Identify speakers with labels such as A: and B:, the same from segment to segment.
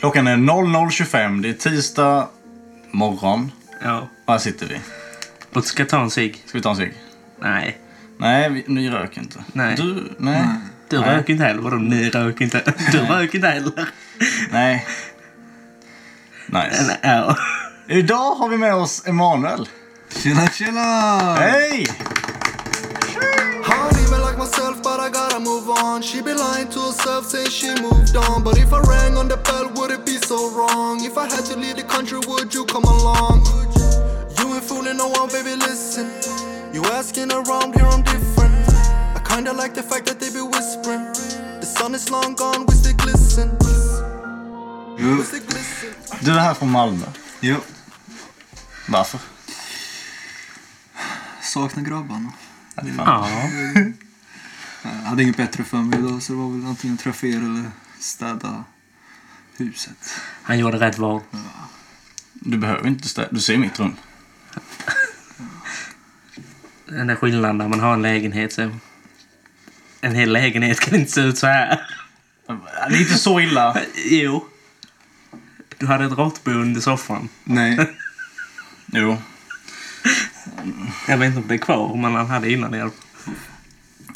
A: Klockan är 00.25. Det är tisdag morgon.
B: Ja.
A: Och här sitter vi.
B: Och ska ta en cigg?
A: Ska vi ta en cigg?
B: Nej.
A: Nej, vi, ni röker inte.
B: Nej.
A: Du? Nej.
B: Du
A: Nej.
B: röker inte heller. Vadå ni röker inte? Du röker inte heller.
A: Nej. Nice.
B: Nej, Ja.
A: Idag har vi med oss Emanuel.
C: Tjena tjena!
A: Hej!
D: I don't even like myself, but I gotta move on. She be lying to herself, saying she moved on. But if I rang on the bell, would it be so wrong? If I had to leave the country, would you come along? You ain't fooling no one, baby, listen. You asking around here, I'm different. I kinda like the fact that they be whispering. The sun is long gone, we still glisten.
C: Jo,
D: We still glisten.
A: Du är här från Malmö.
C: jo.
A: Varför?
C: Saknar grabbarna.
B: ja.
C: Jag hade inget bättre för mig idag så det var väl antingen träffa er eller städa huset.
B: Han gjorde rätt val.
A: Du behöver inte städa. Du ser mitt rum.
B: Den där skillnaden när man har en lägenhet så... En hel lägenhet kan inte se ut så här.
A: Det är inte så illa.
B: Jo. Du hade ett råttbo under soffan.
C: Nej.
A: Jo.
B: Jag vet inte om det är kvar, men han hade innan i alla fall.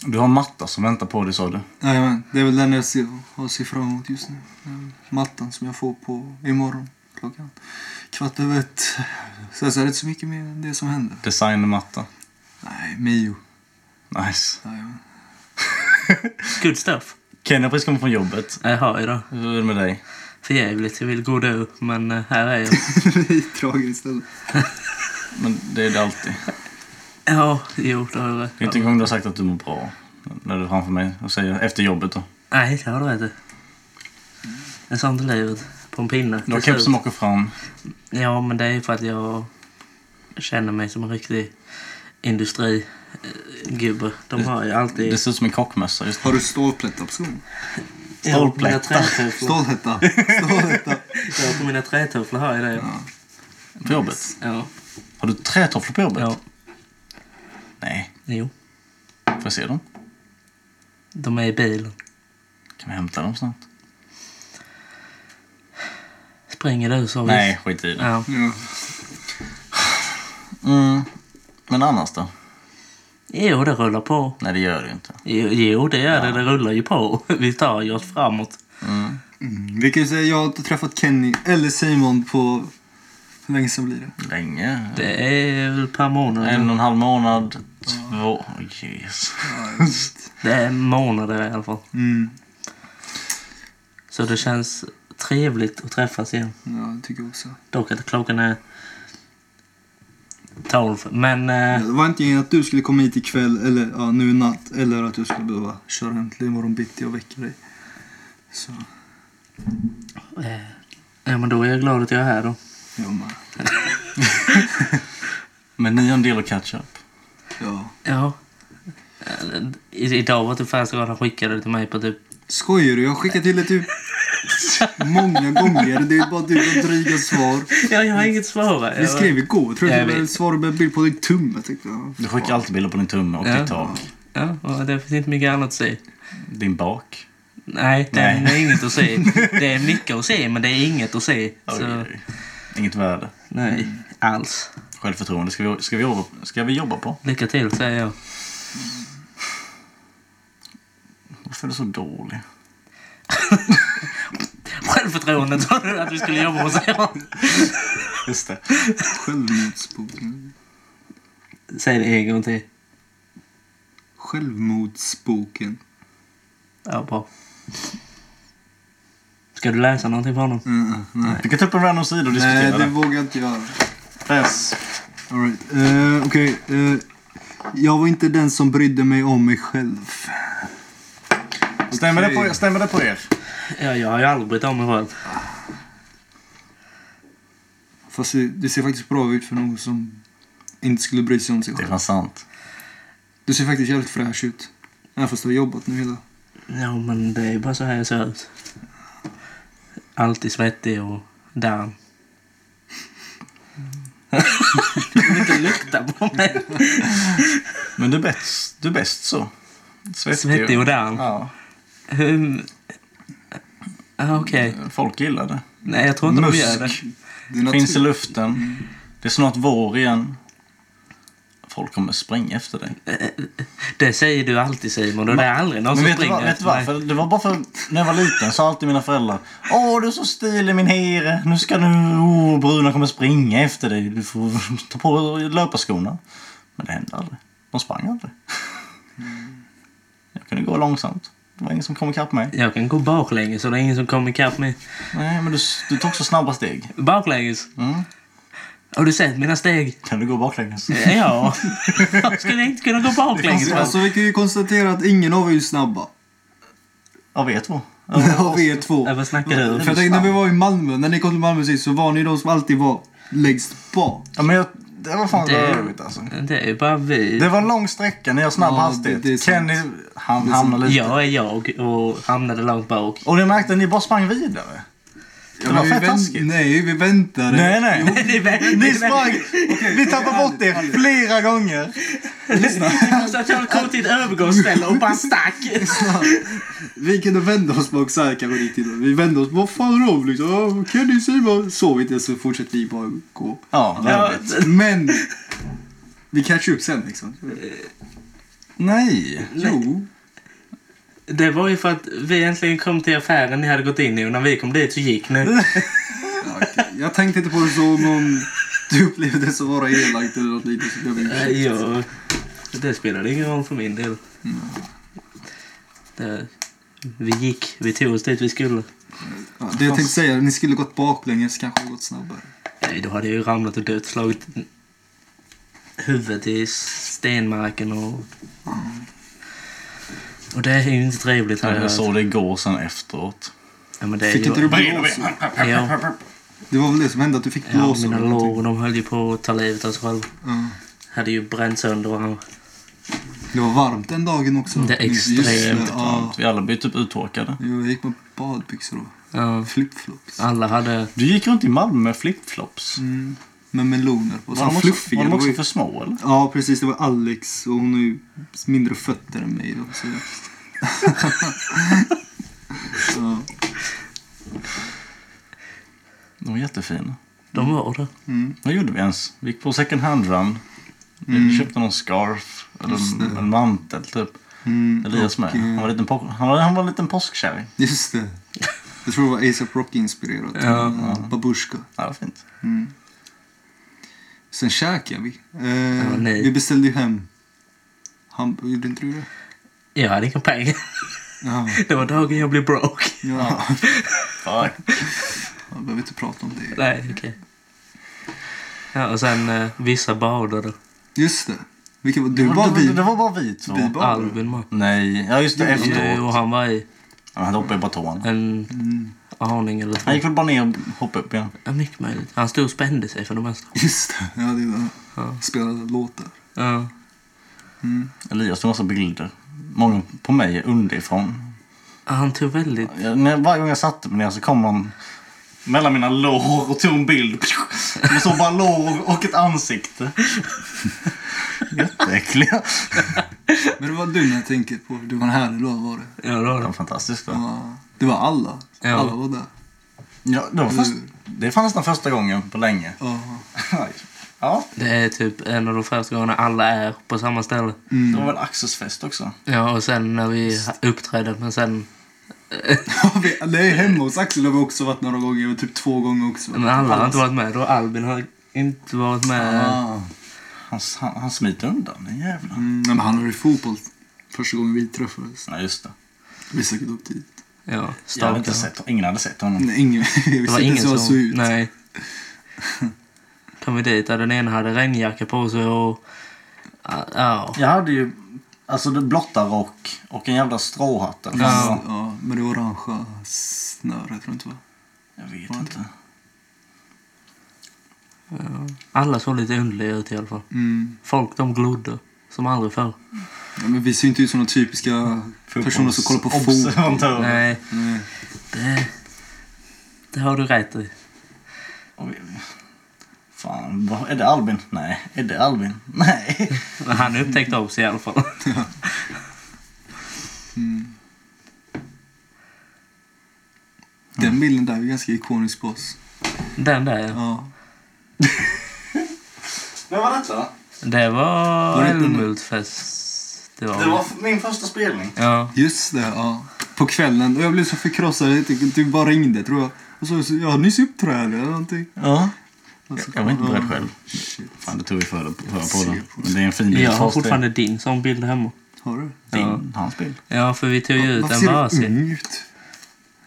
A: Du har en matta som väntar på dig, sa du.
C: Nej men det är väl den jag ser, har att se fram emot just nu. Det är väl Mattan som jag får på imorgon klockan kvart över ett. Sen så är det inte så mycket mer än det som händer.
A: Designermatta.
C: Nej, Mio.
A: Nice.
C: Nej, men.
B: Good stuff.
A: Kenny har precis kommit från jobbet.
B: Jaha, idag.
A: Hur är det med dig?
B: För jävligt. Jag vill gå då, men eh, här är jag.
C: Vi tragar istället.
A: Men det är det alltid.
B: Ja, jo, det har du rätt.
A: Det är inte en gång du har sagt att du mår bra. När du är framför mig och säger efter jobbet då.
B: Nej, det har du rätt i. Det är sånt i livet. På en pinne.
A: Du har
B: Det ser ut-
A: kepsen åker fram.
B: Ja, men det är för att jag känner mig som en riktig industrigubbe. De har ju alltid...
A: Det ser ut som en kockmössa just nu.
C: Har du stålplättar på skon?
A: stålplättar.
B: Ja, mina trätofflor.
C: Stålhätta. Stålhätta.
B: Ja, på mina trätofflor har jag det. Ja.
A: På jobbet?
B: Ja.
A: Har du trätofflor på jobbet?
B: ja.
A: Nej.
B: Jo.
A: Får jag se dem?
B: De är i bilen.
A: Kan vi hämta dem snart?
B: Springer du så
A: Nej, skit i det.
B: Ja.
C: Ja.
A: Mm. Men annars då?
B: Jo, det rullar på.
A: Nej, det gör det ju inte.
B: Jo, jo det gör det. Det rullar ju på. Vi tar ju oss framåt.
A: Mm.
C: Mm, Vi kan ju säga jag har inte träffat Kenny eller Simon på... Hur länge sedan blir det?
A: Länge?
B: Det är väl ett par månader.
A: En och en halv månad. Två... Oj, Jeez.
B: Det är månader i alla fall.
C: Mm.
B: Så det känns trevligt att träffas igen.
C: Ja, det tycker jag också.
B: Dock att klockan är 12. Men
C: Ja,
B: eh,
C: Det var antingen att du skulle komma hit ikväll, eller ja, nu i natt, eller att du skulle behöva köra hem till imorgon bitti och väcka dig. Så,
B: eh, ja, men då är jag glad att jag är här då.
C: jag med.
A: Men ni har en del att catch up.
C: Ja.
B: Ja. Eh, i- Idag var det första gången han skickade det till mig på typ...
C: Skojar du? Jag har skickat till dig typ många gånger. Det är bara du som dryga svar.
B: Ja, jag har inget svar.
C: Vi skrev igår, tror jag.
B: Jag
C: att
B: vet.
C: jag svarade med en bild på din tumme. Tyckte jag.
A: Du skickar alltid bilder på din tumme och
B: Ja.
A: ditt tak.
B: Ja, och det finns inte mycket annat att se.
A: Din bak.
B: Nej, det
A: Nej.
B: är inget att se. Det är mycket att se, men det är inget att se.
A: Oj,
B: Så,
A: oj. Inget värde.
B: nej, alls.
A: Självförtroende ska vi, ska vi, jobba, ska vi jobba på.
B: Lycka till, säger jag.
A: Varför är du så dålig?
B: Självförtroendet sa du att vi skulle jobba på, säger jag.
A: Just det.
C: Självmordsboken.
B: Säg det en gång till.
C: Självmordsboken.
B: Ja, bra. Ska du läsa någonting för honom?
C: Mm, nej.
A: Du kan ta upp en random sida och
C: Nej,
A: diskutera
C: det
A: det.
C: vågar jag inte göra.
A: Press.
C: All right. Eh, Okej. eh, jag var inte den som brydde mig om mig själv.
A: Stämmer, det
C: Okej.
A: på, stämmer det på er?
B: Ja, jag har ju aldrig brytt om mig själv.
C: Fast det, det ser faktiskt bra ut för någon som inte skulle bry sig om sig
A: Det är
C: själv.
A: fan sant.
C: Du ser faktiskt jävligt fräsch ut. Även fast du har jobbat nu hela...
B: Ja, men det är ju bara så här jag ser ut. Alltid svettig och down. du vill inte lukta på mig.
A: Men du är bäst, du är bäst så. Svettig,
B: Svettig och down.
A: Ja.
B: Hur, Ah, okej.
A: Folk gillar det.
B: Nej, jag tror inte de gör det.
A: Musk
C: Det är natur.
A: finns i luften. Det är snart vår igen. Folk kommer springa efter dig.
B: Det säger du alltid Simon och det är aldrig någon
C: Alltså,
A: Men
B: som
A: vet du,
B: springer
A: vad, vet du
B: efter mig.
A: varför? Det var bara för när jag var liten sa alltid mina föräldrar Åh, du är så stilig min here. Nu ska du... Åh, bruna kommer springa efter dig. Du får ta på dig löparskorna. Men det hände aldrig. De sprang aldrig. Jag kunde gå långsamt. Det var ingen som kom ikapp mig.
B: Jag kan gå baklänges och det är ingen som kommer ikapp mig.
A: Nej, men du, du tog så snabba steg.
B: Baklänges?
A: Mm.
B: Har du sett mina steg?
A: Kan du gå baklänges?
B: Ja. Jag skulle inte kunna gå baklänges.
C: Alltså, alltså, vi kan ju konstatera att ingen av er är snabba.
A: Av er två?
C: Av er två.
B: Ja, Vad snackar du om?
C: För jag tänkte när vi var i Malmö, när ni kom till Malmö sist så var ni de som alltid var längst bak.
A: Ja, men jag, det var fan
B: Det-
A: rörigt alltså.
B: Det är ju bara vi.
A: Det var en lång sträcka när jag snabb
C: Ja,
A: hastighet.
C: det- det är sant.
A: Kenny, han hamnade lite.
B: Jag är jag och hamnade långt bak.
A: Och ni märkte att ni bara sprang vidare. Det var
C: vi
A: fett
C: vänt-
A: taskigt.
C: Nej, vi väntade.
A: Nej, nej.
B: Det är väldigt-
A: Ni sprang. Vi tappade bort er flera gånger.
B: Alltså att jag kom till ett övergångsställe och bara stack.
C: Vi kunde vända oss bak så här kanske lite till. Vi vände oss, vad fan är de liksom? Ja, Kenny, Simon. Sov inte så fortsatte vi bara gå.
A: Ja,
B: Ja,
A: väldigt.
C: Men! Vi catchade upp sen liksom.
B: Eh,
A: Nej.
C: Jo.
B: Det var ju för att vi äntligen kom till affären ni hade gått in i och när vi kom dit så gick ni.
C: Ja, okej. Jag tänkte inte på det som om du upplevde det som vara elakt eller något liknande. så jag ber om ursäkt.
B: Nej, Eh, Jag, det spelade ingen roll för min del.
A: Mm.
B: Det, vi gick, vi tog oss dit vi skulle.
C: Ja, det jag tänkte säga, ni skulle gått baklänges kanske gått snabbare.
B: Nej, då hade jag ju ramlat och dött, slagit huvudet i stenmarken och... Och det är ju inte trevligt. har jag
A: Jag
B: hört.
A: såg det igår sen efteråt.
B: Ja, men det är
C: Fick
B: ju-
C: inte du
A: Brinner
C: blåsor?
B: Ja,
C: Det var väl det som hände, att du fick
B: ja,
C: blåsor?
B: mina
C: eller någonting.
B: lår de höll ju på att ta livet av sig själv.
C: Ja.
B: Hade ju bränt sönder och han...
C: Det var varmt den dagen också.
B: Det är
C: Just
B: extremt
C: ja.
A: Vi alla blev typ uttorkade.
C: Jo, jag gick med badbyxor
B: Ja,
C: och flipflops.
B: alla hade...
A: Du gick runt i Malmö med flipflops.
C: Mm. Med meloner på.
A: Var
C: Så
A: de också,
C: fluffiga.
A: var de
C: Det
A: också
C: ju-
A: för små eller?
C: Ja, precis. Det var Alex och hon har ju mindre fötter än mig. Då, så... ja.
A: De var jättefina.
B: De var det.
C: mm.
A: Vad gjorde vi ens? Vi gick på second hand run. Vi köpte någon scarf. Eller
C: Mm. Just
A: en,
C: det.
A: en mantel typ.
C: Mm.
A: Elias
C: och,
A: med. Han
C: eh,
A: var en liten, po- han var, han var en liten påskkärring.
C: Just det. Jag tror det var ASAP Rocky-inspirerat.
B: Ja.
C: Eh, Babushka.
A: Ja, vad fint.
C: Mm. Sen käkade vi. Eh,
B: nej.
C: vi beställde ju hem. Han, gjorde inte du det?
B: Jag hade inga pengar.
C: Ja.
B: Det var dagen jag blev broke.
C: ja.
A: Fuck.
C: Jag behöver inte prata om det.
B: Nej, okej. Ja, och sen eh, vissa badade.
C: Just det. Vilka var, du
A: Det
C: var
A: var, det,
C: vi.
A: det var bara vi två.
C: Vi bara- Badade?
B: Albin med.
A: Nej, ja just det.
B: Du och
A: Efteråt.
B: han var i
A: Ja, Han hoppade på tån.
B: en
C: Mm.
B: aning eller två.
A: Han gick väl bara ner och hoppade upp igen.
B: Ja, mycket möjligt. Han stod och spände sig för det mesta.
C: Just det. Ja, det var.
B: Ja.
C: Spelade låtar.
B: Ja.
C: Mm.
A: Elias tog massa bilder. Många på mig underifrån.
B: Han tog väldigt...
A: Jag, när, varje gång jag satte mig ner så kom någon mellan mina lår och tog en bild. Man såg bara lår och ett ansikte. Jätteäckliga.
C: Men det var du när jag tänker på. Det var en härlig låt var det.
B: Ja, det var
A: Det var
B: det.
A: fantastiskt. va?
C: Ja. Det var alla.
B: Ja.
C: Alla var där.
A: Ja, det, var först, det är fan nästan första gången på länge.
C: Ja.
A: Ja,
B: Det är typ en av de första gångerna alla är på samma ställe.
A: det
C: Mm.
A: var väl Axels fest också.
B: Ja, och sen när vi uppträdde, men sen...
C: Vi- Nej, hemma hos Axel har vi också varit några gånger. Typ två gånger också.
B: Men alla har inte varit med då. Albin har inte varit med.
A: Ah. Han, han, han smiter undan, den jävla.
C: Mm, nej, men han var i fotboll första gången vi träffades.
A: Ja, just det.
C: Vi sökte upp tid.
B: Ja,
A: Jag hade inte
B: stalkade.
A: sett, ingen hade sett honom.
C: Nej, ingen. Vi
B: Det var
C: visste inte
B: ingen
C: hur
B: som...
C: han såg ut.
B: Nej. Kom vi dit där den ena hade regnjacka på sig och... Ja, Ja.
A: Jag hade ju alltså det blotta rock och en jävla stråhatt. eller vad det var.
C: Ja. ja, men det orangea snöret runt va?
A: Jag vet inte.
B: Alla såg lite underliga ut i alla fall.
C: Mm.
B: Folk de glodde. Som aldrig förr.
C: Ja, men vi ser inte ut som de typiska personer som kollar på fotboll.
A: Observatörer.
B: Nej,
C: Nej.
B: det... Det har du rätt i.
A: Och vi- Fan, vad, är det Albin? Nej. Är det Albin? Nej.
B: Men han upptäckte oss i alla fall.
C: Den bilden där är ju ganska ikonisk på oss.
B: Den där ja.
C: Ja.
A: När var detta?
B: Det var
C: Var det inte nu?
B: Älmhultfestivalen.
A: Det var min första spelning.
B: Ja.
C: Just det, ja. På kvällen. Och jag blev så förkrossad. Jag tyckte- Du bara ringde tror jag. Och så, så jag har nyss uppträde eller någonting.
A: Ja.
C: Och så-
A: Jag var inte beredd
C: ja.
A: själv.
C: Shit.
A: Fan, det tog vi för att höra på
C: ser
A: den.
C: på
A: Men det är en fin bild.
B: Jag har
A: Fast det-
B: fortfarande din sån bild hemma.
C: Har du?
A: Din, hans bild.
B: Ja, för vi tog ju ut
C: Varför
B: en
C: ser du
B: varsin.
C: ung ut?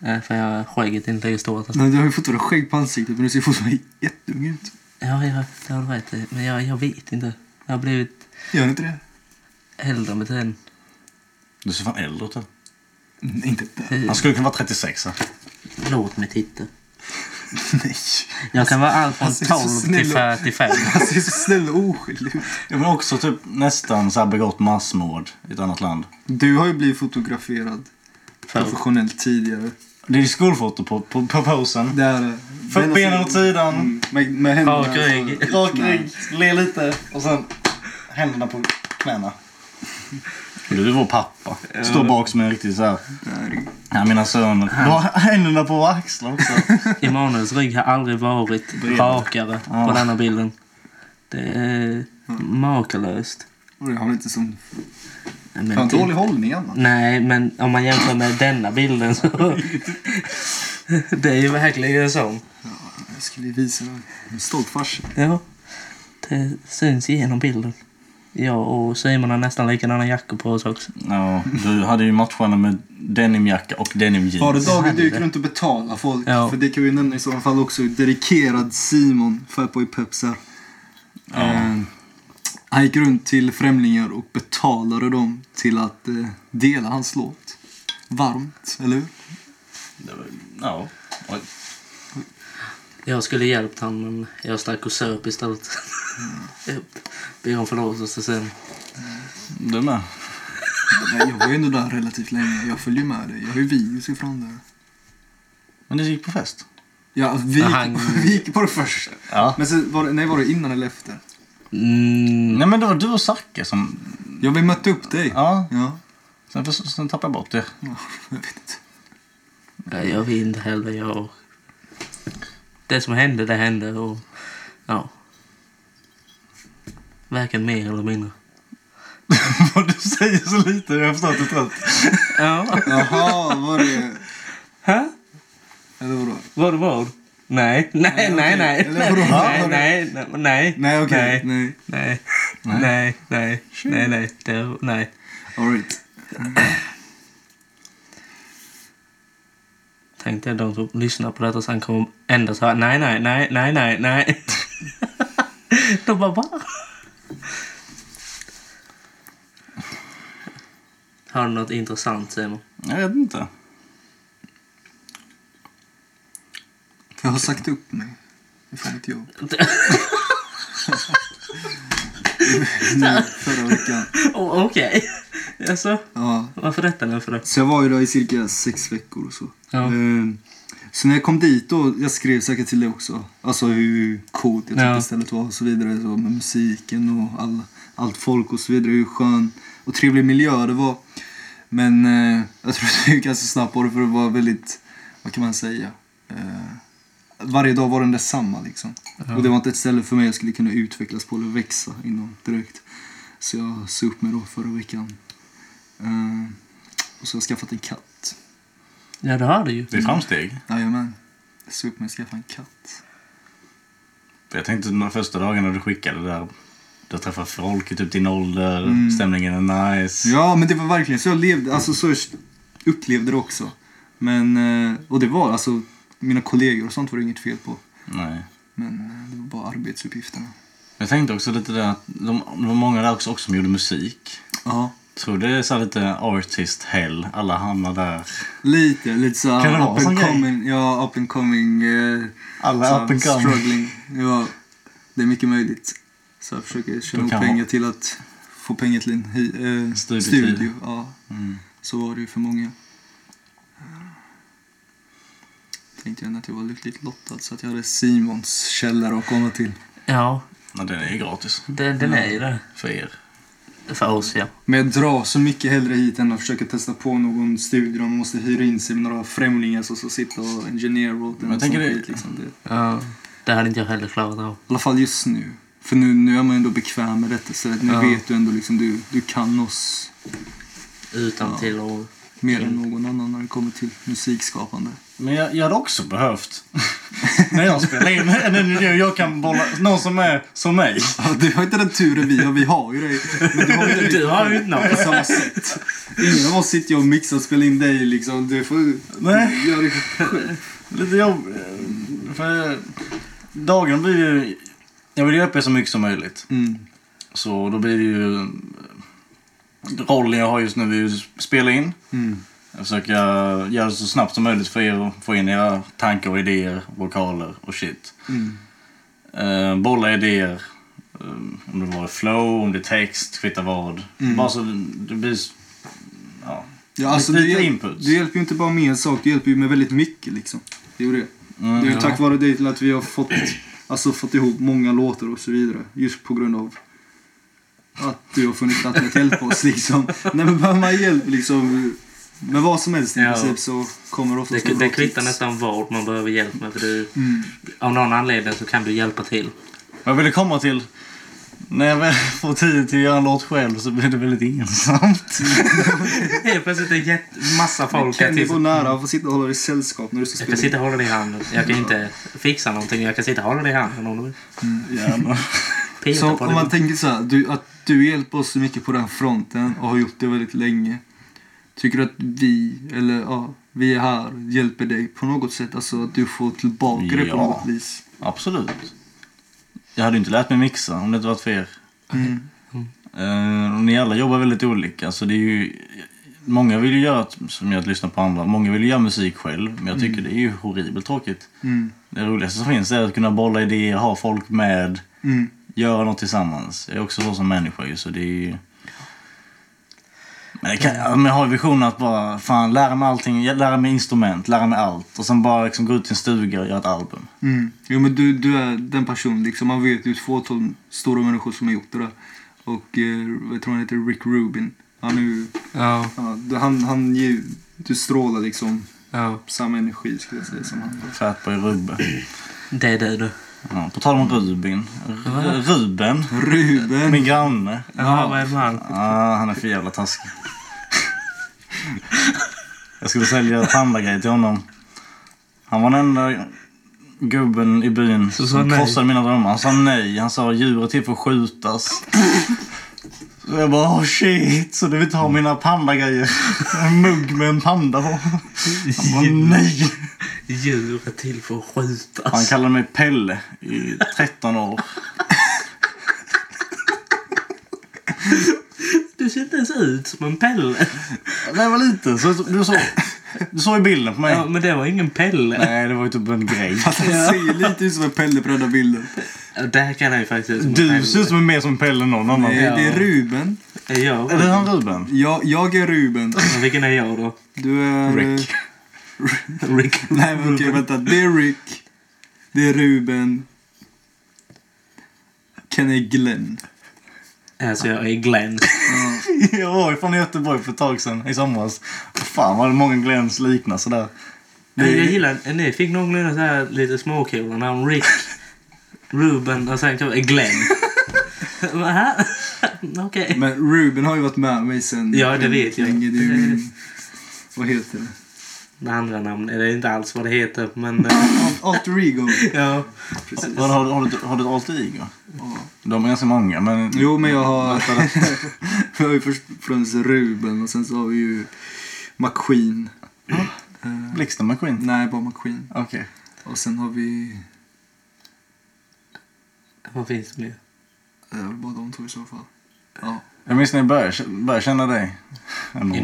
B: Eh, För jag skägget inte lika stort. Alltså.
C: Nej, du har ju fortfarande skägg på ansiktet men du ser fortfarande jätteung ut.
B: Ja, ja, det har du rätt i. Men jag, jag vet inte. Jag har blivit
C: Gör ni inte det?
B: äldre med tiden.
A: Du ser fan äldre ut. här.
C: Nej, inte det.
B: Fy,
A: Han skulle kunna vara 36. här.
B: Låt mig titta.
C: Nej.
B: Jag kan vara allt från
C: Han ser så
B: 12
C: snäll
B: till
C: ut.
B: 45.
C: Han ser så snäll och oskyldig ut.
A: Jag var också typ nästan så här begått massmord i ett annat land.
C: Du har ju blivit fotograferad
B: För
C: professionellt tidigare.
A: Det är skolfoto på, på, på posen.
C: Det här,
A: För benen åt sidan.
C: Mm, Med, med händerna.
B: Rak rygg.
C: så-
A: Rak rygg, le lite och sen händerna på knäna. Du är vår pappa. Står bak som en riktig så här.
C: Herregud.
A: Nej, mina söner. Du har händerna på våra axlar också.
B: Emanuels rygg har aldrig varit
A: Bred.
B: rakare på
A: Ja.
B: denna bilden. Det är makalöst.
C: Och Jag har inte sån...
B: Nej, men
C: Fan,
B: det-
C: dålig hållning Anna.
B: Nej, men om man jämför med denna bilden så... det är ju verkligen en sån.
C: Jag skulle ju visa dig. En stolt farsa.
B: Ja, det syns igenom bilden. Jag och Simon har nästan likadana jackor på oss också.
A: Ja, du hade ju matcharna med denimjacka och denimjeans.
C: Har du David
B: hade
C: du gick
B: det.
C: runt och betala folk?
B: Ja.
C: För det kan vi nämna i så fall också. Dedikerad Simon, Fatboy Pepsar. Eh, han gick runt till främlingar och betalade dem till att eh, dela hans låt. Varmt, eller hur?
A: Det var- Ja. Oj.
B: Jag skulle hjälpt han men jag stack och söp istället. Jag Ber om förlåtelse sen.
A: Du med.
C: Men jag var ju ändå där relativt länge. Jag följer med dig. Jag har ju videos ifrån där.
A: Men du gick på fest?
C: Ja, vi,
B: Men han-
C: vi gick på det först.
A: Ja.
C: Men sen var det, nej, var det innan eller efter?
B: Mm,
A: Nej men det var du och Zacke som...
C: Ja, vi mötte upp dig.
A: Ja.
C: Ja,
A: Sen, för, sen tappade jag bort det.
C: jag vet inte.
B: nej, jag vet inte heller. Jag... Det som hände, det hände. Och, ja. Varken mer eller mindre.
A: Vad du säger så lite. Jag förstår att du är trött.
B: Ja.
C: Jaha, var det...
B: Hä?
C: Eller vadå?
B: Var det vad? Nej, nej, nej,
C: okej.
B: nej.
C: Eller
B: Nej,
C: vadå?
B: nej,
C: Var det-
B: nej, nej, nej,
C: Nej, okej.
B: nej, nej,
C: Nej.
B: nej, nej, nej, nej, nej, det- nej.
C: All right.
B: Tänk dig de som lyssnar på detta sen kommer ändå så här, nej, nej, nej, nej, nej, nej. De bara, va? Har du något intressant Simon?
A: Jag vet inte.
C: Jag har sagt upp mig från mitt jobb. nu, förra veckan.
B: Oh, Okej. Alltså,
C: Ja.
B: varför detta nu för det?
C: Så jag var ju där i cirka sex veckor och så.
B: Ja.
C: Ehm, Så när jag kom dit då, jag skrev säkert till dig också, alltså hur coolt jag tyckte
B: Ja.
C: stället var typ och så vidare. Så med musiken och all, allt folk och så vidare, hur skön och trevlig miljö det var. Men eh, jag tror det gick ganska snabbt på det för det var väldigt, vad kan man säga? Eh, varje dag var den detsamma liksom. Och det var inte ett ställe för mig jag skulle kunna utvecklas på eller växa inom direkt. Så jag sa upp mig då förra veckan. Eh, och så har jag skaffat en katt.
B: Ja, det har du ju.
A: Det är framsteg.
C: Jajamän. Jag såg upp mig och skaffade en katt.
A: För Jag tänkte de första dagarna du skickade där. Du har träffat folk i typ din ålder.
C: Mm.
A: Stämningen är nice.
C: Ja, men det var verkligen så jag levde, alltså så jag upplevde det också. Men, eh, och det var alltså, mina kollegor och sånt var det inget fel på.
A: Nej.
C: Men eh, det var bara arbetsuppgifterna.
A: Jag tänkte också lite där att de, det var många där också, också som gjorde musik.
C: Ja.
A: Tror det är så här lite artist hell. Alla hamnar där.
C: Lite, lite så
A: Kan det vara
C: här up
A: sån
C: and
A: grej?
C: coming, ja up and coming. Eh, så
A: Alla
C: här
A: up and come.
C: Struggling. Ja, det är mycket möjligt. Så jag försöker tjäna
A: De
C: ihop
A: kan
C: pengar till att få pengar till en hy- eh,
A: Studietid.
C: studio. Ja.
A: Mm.
C: Så var det ju för många. Tänkte jag ändå att jag var lyckligt lottad så att jag hade Simons källare att komma till.
B: Ja,
A: Men den är ju gratis.
B: den, den är ju det.
A: För er.
B: För oss, ja.
C: Men jag drar så mycket hellre hit än att försöka testa på någon studio där man måste hyra in sig med några främlingar som ska sitta och engineera åt en.
A: Jag
C: och
A: tänker
C: sånt
A: det-
C: skit, Liksom. Det, I
B: ja. Det hade inte jag heller klarat av.
C: alla fall just nu. För nu, nu är man ändå bekväm med detta stället. Nu
B: Ja.
C: vet du ändå liksom, du, du kan oss
B: Utan
C: Ja.
B: till och...
C: mer än någon annan när det kommer till musikskapande.
A: Men jag, jag hade också behövt, när jag spelar in en intervju, jag kan bolla någon som är som mig.
C: Ja, du har inte den turen vi har, vi har ju dig. Men du har ju dig
B: Du har ju inte någon.
C: på samma sätt. Ingen av oss sitter ju och mixar och spelar in dig liksom. Du får
A: Nej.
C: göra det själv.
A: Lite jobb... eh, För dagen blir ju... Jag vill ju öppna så mycket som möjligt.
C: Mm.
A: Så då blir det ju... Rollen jag har just nu är ju att spela in.
C: Mm.
A: Försöka göra det så snabbt som möjligt för er och få in era tankar och idéer, vokaler och shit.
C: Mm.
A: Eh, bolla idéer. eh, om det var flow, om det är text, kvittar vad.
C: Mm.
A: Bara så det, det blir... s- Ja.
C: Ja, alltså,
A: Lite
C: du, hjäl-
A: input.
C: du hjälper ju inte bara med en sak, du hjälper ju med väldigt mycket liksom. Det är ju det. Det är ju
A: Mm,
C: tack vare dig till att vi har fått, alltså, fått ihop många låtar och så vidare. Just på grund av att du har funnits att med hjälp oss liksom. Nej men behöver man hjälp liksom med vad som helst i
B: Ja.
C: princip så kommer det oftast
B: Det, det
C: bra
B: kvittar
C: tips.
B: nästan vad man behöver hjälp med. För du,
C: Mm.
B: av någon anledning så kan du hjälpa till.
A: Vad jag ville komma till... När jag väl får tid till att göra en låt själv så blir det väldigt ensamt.
B: Helt plötsligt är det jätt- massa folk här
C: Kenny
B: till.
C: var nära att få sitta och hålla dig sällskap när du ska
B: Jag kan
C: spela.
B: sitta och hålla dig i handen. Jag kan inte fixa någonting. Jag kan sitta och hålla dig i handen om du vill.
A: Gärna.
B: Peta
C: Så
B: på
C: om
B: dig.
C: man tänker så här, du, att du hjälper oss så mycket på den fronten och har gjort det väldigt länge. Tycker du att vi, eller ja, vi är här, hjälper dig på något sätt? Alltså att du får tillbaka det på
A: Ja.
C: något vis?
A: Absolut. Jag hade ju inte lärt mig mixa om det inte varit för er.
C: Mm.
A: Eh, och ni alla jobbar väldigt olika. Så det är ju, många vill ju göra, som jag lyssnar på andra, många vill ju göra musik själv. Men jag tycker det är ju horribelt tråkigt.
C: Mm.
A: Det roligaste som finns är att kunna bolla idéer, ha folk med,
C: Mm.
A: göra något tillsammans. Jag är också så som människa ju, så det är ju... Men, det kan, ja, men jag har ju visionen att bara fan, lära mig allting, jag- lära mig instrument, lära mig allt. Och sen bara liksom gå ut till en stuga och göra ett album.
C: Mm. Jo men du, du är den personen liksom. Man vet ju ett fåtal stora människor som har gjort det där. Och eh, jag tror han heter Rick Rubin. Han, är ju,
B: Ja,
C: ja, du- han, han ger, ju- du strålar liksom
B: ja.
C: samma energi skulle jag säga som han.
A: Fatboy Rubbe.
B: Det är det du.
A: Ja, på tal om Rubin. R- Ruben,
C: Ruben!
A: min granne.
B: Ja, vad är det med han?
A: Ah, han är för jävla taskig. Jag skulle sälja tandläggrejer till honom. Han var den enda gubben i byn
B: Så sa
A: som
B: nej.
A: krossade mina drömmar. Han sa nej. Han sa djuret till får skjutas. Så jag bara oh shit, så du vill inte ha mina pandagrejer? En mugg med en panda på. Han bara, nej.
B: Djur är till för att
A: Han
B: skjutas.
A: kallade mig Pelle i 13 år.
B: Du ser inte ens ut som en Pelle.
A: När jag var liten så du såg du såg ju bilden på mig.
B: Ja, men det var ingen Pelle.
A: Nej, det var ju typ en grej.
C: Han ser lite ut som en Pelle på den där bilden.
B: Ja, Där kan han ju faktiskt se ut som en Pelle.
A: Du ser ut som en mer som Pelle än någon annan.
C: Nej, det är Ruben.
B: Är jag?
A: Är det han Ruben?
C: Jag, jag är Ruben.
B: Men Vilken är jag då?
C: Du är...
A: Rick.
B: Rick.
C: Nej men okej vänta. Det är Rick. Det är Ruben. Kenny Glenn.
B: Alltså jag är Glenn.
A: Jag var ju från Göteborg för ett tag sedan i somras. Fan vad det många Glens liknar sådär. Det
B: Jag
A: är,
B: gillar, ni fick någorlunda så här lite småkula namn. Rick, Ruben och sen kanske Glenn. Va? Okej.
C: Men Ruben har ju varit med mig sen...
B: Ja, det vet jag.
C: länge. Det är ju min... Vad heter det?
B: Det andra namnet, det är inte alls vad det heter men... eh,
C: Alt- Alter ego.
B: ja.
C: Precis.
A: har, har, har, du, har du ett alter ego?
C: Ja.
A: De är ganska många men...
C: Jo men jag har... Vi har ju först och främst Ruben och sen så har vi ju McQueen.
B: Ah.
C: Eh,
A: Blixten McQueen?
C: nej, bara McQueen.
A: Okej.
C: Och sen har vi...
B: Vad finns det mer?
C: Det är väl bara de två i så fall. Ja.
A: Jag minns när jag började, började känna dig. Emanuel.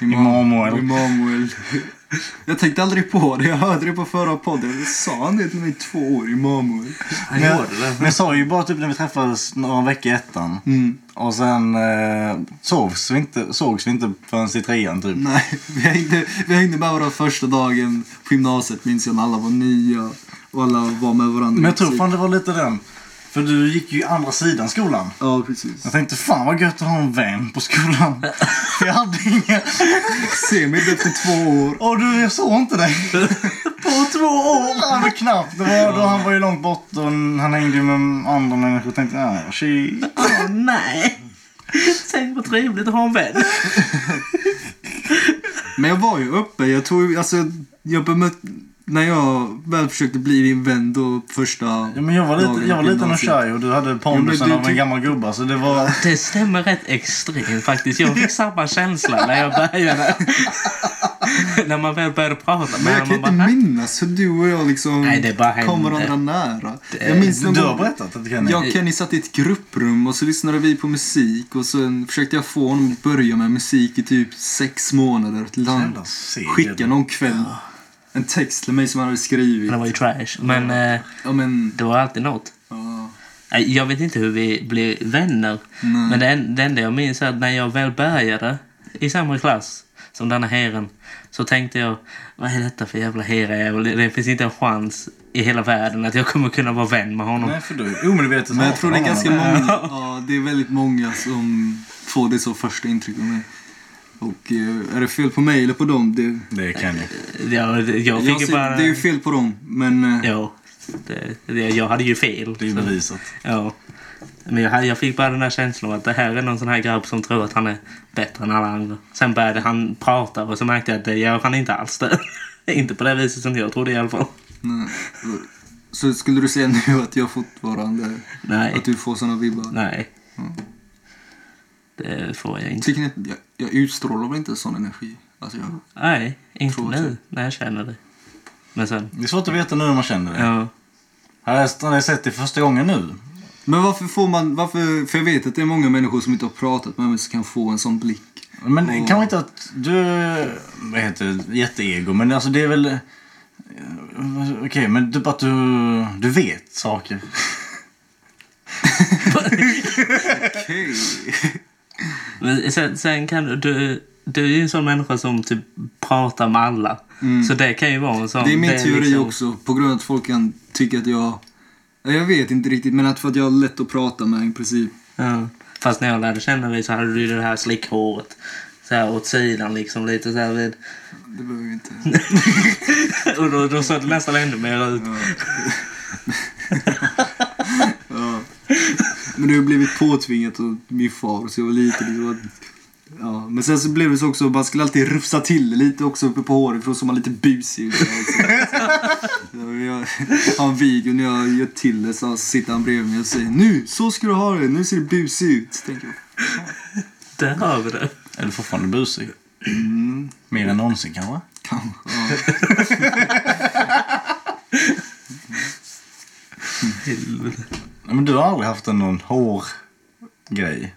B: Imam.
A: Immanuel.
C: Immanuel. Jag tänkte aldrig på det. Jag hörde det på förra podden. Jag sa han det till mig i två år? Immanuel.
B: Han
A: Men-
B: gjorde det.
A: Men jag sa ju bara typ när vi träffades några veckor i ettan.
C: Mm.
A: Och sen eh, sågs, vi inte, sågs vi inte förrän i trean typ.
C: Nej, vi hängde, vi hängde med varandra första dagen på gymnasiet minns jag när alla var nya och alla var med varandra.
A: Men jag tror fan det var lite den. För du gick ju i andra sidan skolan.
C: Ja, precis.
A: Jag tänkte fan vad gött att ha en vän på skolan. För jag hade ingen.
C: Se mig efter två år.
A: Och du, jag såg inte dig.
B: På två år!
A: Ja, men knappt. Det var, då han var ju långt bort och han hängde ju med andra människor. Jag tänkte, ah, shit.
B: Åh nej! Tänk vad trevligt att ha en vän.
C: Men jag var ju uppe. Jag tog, alltså, jag bemöt, när jag väl försökte bli din vän då första
A: Ja, men jag var lite, jag var lite och tjej och du hade
C: Ja,
A: pondusen
C: men du
A: av en
C: tyck-
A: gammal gubbe. Så det var...
B: Det stämmer rätt extremt faktiskt. Jag fick samma känsla när jag började. när man väl började prata
C: Men jag
B: honom,
C: kan inte
B: man bara,
C: minnas hur du och jag liksom
B: Nej, det bara hände.
C: kom varandra nära. Jag minns någon
A: Du har
C: gång,
A: berättat att det kan
C: jag och Kenny satt i ett grupprum och så lyssnade vi på musik och sen försökte jag få honom att börja med musik i typ sex månader. Till han
A: Jävla seger.
C: skickade någon kväll en text till mig som han hade skrivit.
B: Det var ju trash. Men eh,
C: Ja men,
B: det var alltid något.
C: ja.
B: Nej, Jag vet inte hur vi blev vänner.
C: Nej.
B: Men det, en- det enda jag minns är att när jag väl började i samma klass som denna herren så tänkte jag, vad är detta för jävla herrejävel? Det, det finns inte en chans i hela världen att jag kommer kunna vara vän med honom.
A: Nej, för du omedvetet
C: Men jag tror det är
A: hatar
C: ganska
A: honom.
C: många, ja, det är väldigt många som får det som första intryck av mig. Och eh, är det fel på mig eller på dem? Det,
A: Det kan jag.
B: Jag, jag fick
C: jag
B: ju
C: ser,
B: bara...
C: det är ju fel på dem, men... eh,
B: Ja, det, det, jag hade ju fel.
A: Det är ju bevisat.
B: Ja. Men jag, hade- jag fick bara den här känslan av att det här är någon sån här grabb som tror att han är bättre än alla andra. Sen började han prata och så märkte jag att det gör han inte alls det. inte på det viset som jag trodde i alla fall.
C: Nej. eh, Så skulle du säga nu att jag fortfarande...
B: Nej.
C: Att du får såna vibbar?
B: Nej. Det får jag inte.
C: Tycker ni att jag, jag utstrålar väl inte sån energi? Alltså jag...
B: Nej, inte
C: Tror
B: nu
C: inte.
B: när jag känner det. Men sen.
A: Det är svårt att veta nu när man känner det.
B: Ja.
A: Hade jag- hade jag sett det första gången nu?
C: Men varför får man... Varför, för jag vet att det är många människor som inte har pratat med mig som kan få en sån blick.
A: Men
C: Och-
A: kan man inte att du... Vad heter det? Jätteego. Men alltså det är väl... eh, Okej, men typ att du, du vet saker.
C: Okej.
B: Men sen, sen kan du- du... Du är ju en sån människa som typ pratar med alla. Så det kan ju vara en sån...
C: Mm. Det är min teori
B: liksom-
C: också, på grund av att folk kan tycka att jag... ja, Jag vet inte riktigt, men att för att jag har lätt att prata med i princip.
B: Ja. Fast när jag lärde känna dig så hade du ju det här slickhåret. Så här åt sidan liksom lite så här vid.
C: Det behöver vi inte...
B: Och då, då såg det nästan ännu mer ut.
C: Ja. Men det har blivit påtvingat av min far så jag var lite liksom att- Ja, men sen så blev det så också, man skulle alltid rufsa till det lite också uppe på håret för då såg man lite busig ut. Alltså. Ja, Jag har en video när jag gör till det så sitter han bredvid mig och säger Nu, så ska du ha det, nu ser du busig ut. Tänker jag.
B: Där har vi det.
A: Är du fortfarande busig?
C: Mm.
A: Mer än någonsin kanske?
C: Kanske, ja.
A: Nej, men du har aldrig haft en någon hårgrej.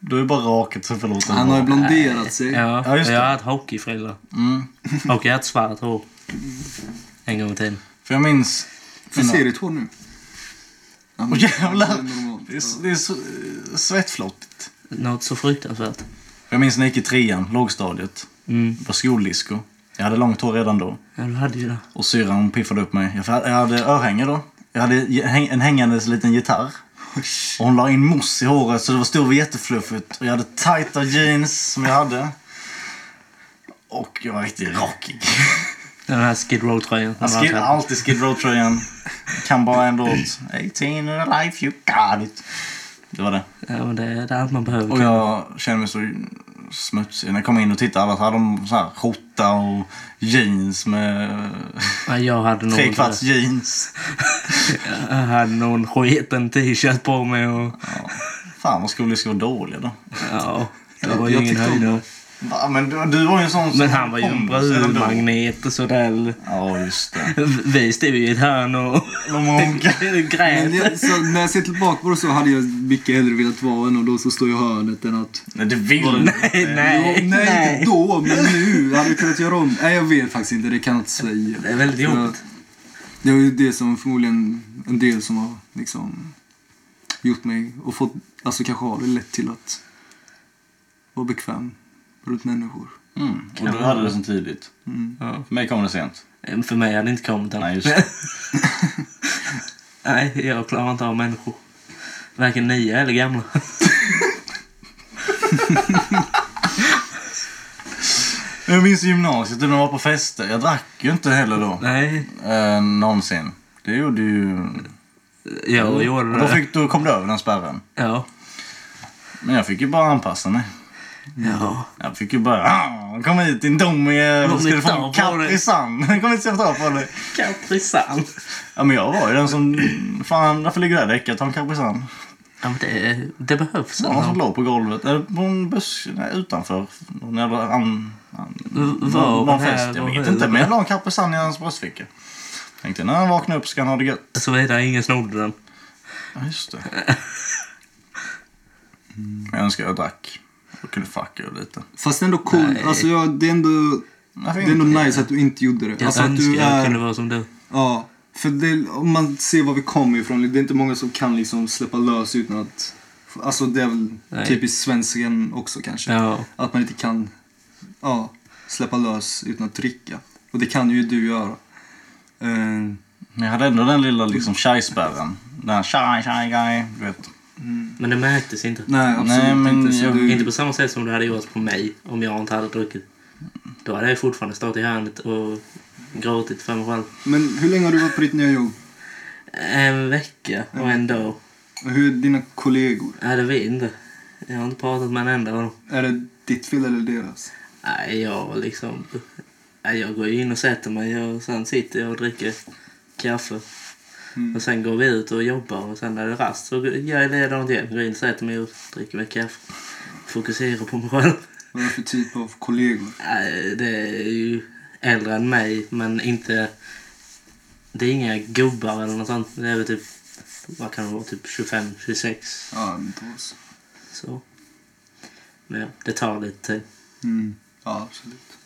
A: Du är bara rakat så förlåt.
C: Han har ju blonderat sig.
B: Ja,
A: Ja, just
B: jag
A: det.
B: har haft hockeyfrilla.
A: Mm.
B: Och jag har haft svart hår. En gång till.
A: För jag minns...
C: Hur ser ditt hår nu? Mm. Ja, men-
A: Åh, jävlar!
C: det är normalt.
A: Det är, s- det är så, eh, svettflottigt.
B: Något så fruktansvärt.
A: För jag minns när jag gick i trean, lågstadiet.
B: Mm.
A: Det var skoldisco. Jag hade långt hår redan då.
B: Ja, du hade ju det.
A: Och syrran hon piffade upp mig. Jag fa- jag hade örhänge då. Jag hade ge- häng- en hängandes liten gitarr. Och hon la in mousse i håret så det var stod och jättefluffigt. Och jag hade tajta jeans som jag hade. Och jag var riktigt rockig.
B: Den här Skid Row-tröjan.
A: Jag skid,
C: Alltså.
A: alltid Skid Row-tröjan. Kan bara en låt. 18 and a life you got it. Det var det.
B: Ja, men det, det är allt man behöver.
A: Och jag kände mig så smutsig. När jag kom in och tittade alla så hade de så här skjorta och jeans med...
B: Ja, jag hade någon,
A: Trekvarts jeans.
B: jag hade någon sketen t-shirt på mig och...
A: Ja. Fan vad skolan ska vara dålig då.
B: Ja, det var
C: Jag
B: ju ingen
C: tyckte om
B: höjdare.
A: Va, men du, du var ju en sån som
B: Men han var ju en
A: Pontus redan då.
B: brudmagnet och sådär.
A: Ja just det.
B: Vi stod ju i ett hörn och
A: De honkar.
B: grät.
C: Men jag, så när jag ser tillbaka på det så hade jag mycket hellre velat vara en av de som står i hörnet än att
A: Nej det vill du inte.
B: Nej, nej,
C: Jo, nej,
B: nej.
C: inte då, men nu. Hade jag kunnat göra om? Nej, jag vet faktiskt inte. Det kan jag inte säga.
B: Det är väldigt jobbigt.
C: Det var ju det som förmodligen en del som har liksom gjort mig och fått, alltså kanske har det lätt till att vara bekväm runt människor.
A: Mm. Och du hade det så tidigt.
C: Mm.
B: Ja. Eh,
A: För mig kom det sent.
B: För mig hade det inte kommit än.
A: Nej just det.
B: Nej, jag klarar inte av människor. Varken nya eller gamla.
A: Jag minns i gymnasiet när man var på fester. Jag drack ju inte heller då.
B: Nej,
A: Eh, någonsin. Det gjorde ju...
B: jag gjorde
A: Då,
B: det.
A: fick, då kom du över den spärren.
B: Ja.
A: Men jag fick ju bara anpassa mig.
B: Ja.
A: Jag fick ju bara... "Ah, Kom hit din dumme...
B: Kom
A: Ska du
B: hit,
A: få
B: ta
A: en
B: på
A: katt
B: dig."
A: i sand? Kom hit ska jag ta på dig.
B: Kaprisan.
A: Ja men jag var ju den som... Fan varför ligger det här däcket? Ta en Caprisan.
B: Ja, men det, det behövs. alltså.
A: Det var någon som
B: ändå.
A: låg på golvet. Eller på en buss nej, utanför. Någon jävla... An, an,
B: V- var
A: någon
B: den
A: någon
B: här-
A: fest. Jag
B: var
A: vet
B: den-
A: inte. Men jag la en Caprisan i hans bröstficka. Tänkte när han vaknar upp ska han ha det gött.
B: Såvida ingen snodde den.
A: Ja, just det. Men Jag önskar jag drack. Jag kunde fucka ur lite.
C: Fast ändå cool.
B: Nej.
C: Alltså, jag, det är ändå...
A: Varför
C: Det är ändå
A: inte?
C: nice att du inte gjorde det.
B: Jag
C: Alltså att
B: önskar
C: du
B: jag kunde
C: är...
B: vara som du.
C: Ja. För det, om man ser var vi kommer ifrån, det är inte många som kan liksom släppa lös utan att... Alltså det är väl
B: Nej.
C: typiskt svensken också kanske.
B: Ja.
C: Att man inte kan ja, släppa lös utan att dricka. Och det kan ju du göra. Eh,
A: Men jag hade ändå den lilla liksom shy-spärren. Den här shy, shy guy. Du vet.
B: Men det märktes inte.
C: nej, absolut
A: Nej, men
C: inte. Så
A: jag-
C: du,
B: Inte på samma sätt som det hade gjort på mig om jag inte hade druckit. Då hade jag fortfarande stått i hörnet och gråtit för mig själv.
C: Men hur länge har du varit på ditt nya jobb?
B: En vecka och en dag.
C: Och Hur är dina kollegor?
B: Ja, det vet jag inte. Jag har inte pratat med en enda av dem.
C: Är det ditt fel eller deras?
B: Nej, jag liksom... Nej, jag går ju in och sätter mig och sen sitter jag och dricker kaffe.
C: Mm.
B: Och sen går vi ut och jobbar och sen när det är rast så går- gör jag likadant igen. Går in och sätter mig och dricker mig kaffe. Fokuserar på mig själv.
C: Vad är det för typ av kollegor?
B: Nej, Äh, det är ju äldre än mig men inte... Det är inga gubbar eller något sånt. Det är väl typ, vad kan det vara, typ 25, 26.
C: Ja, inte oss.
B: Så. Men ja, det tar lite tid.
C: Mm. Ja, absolut.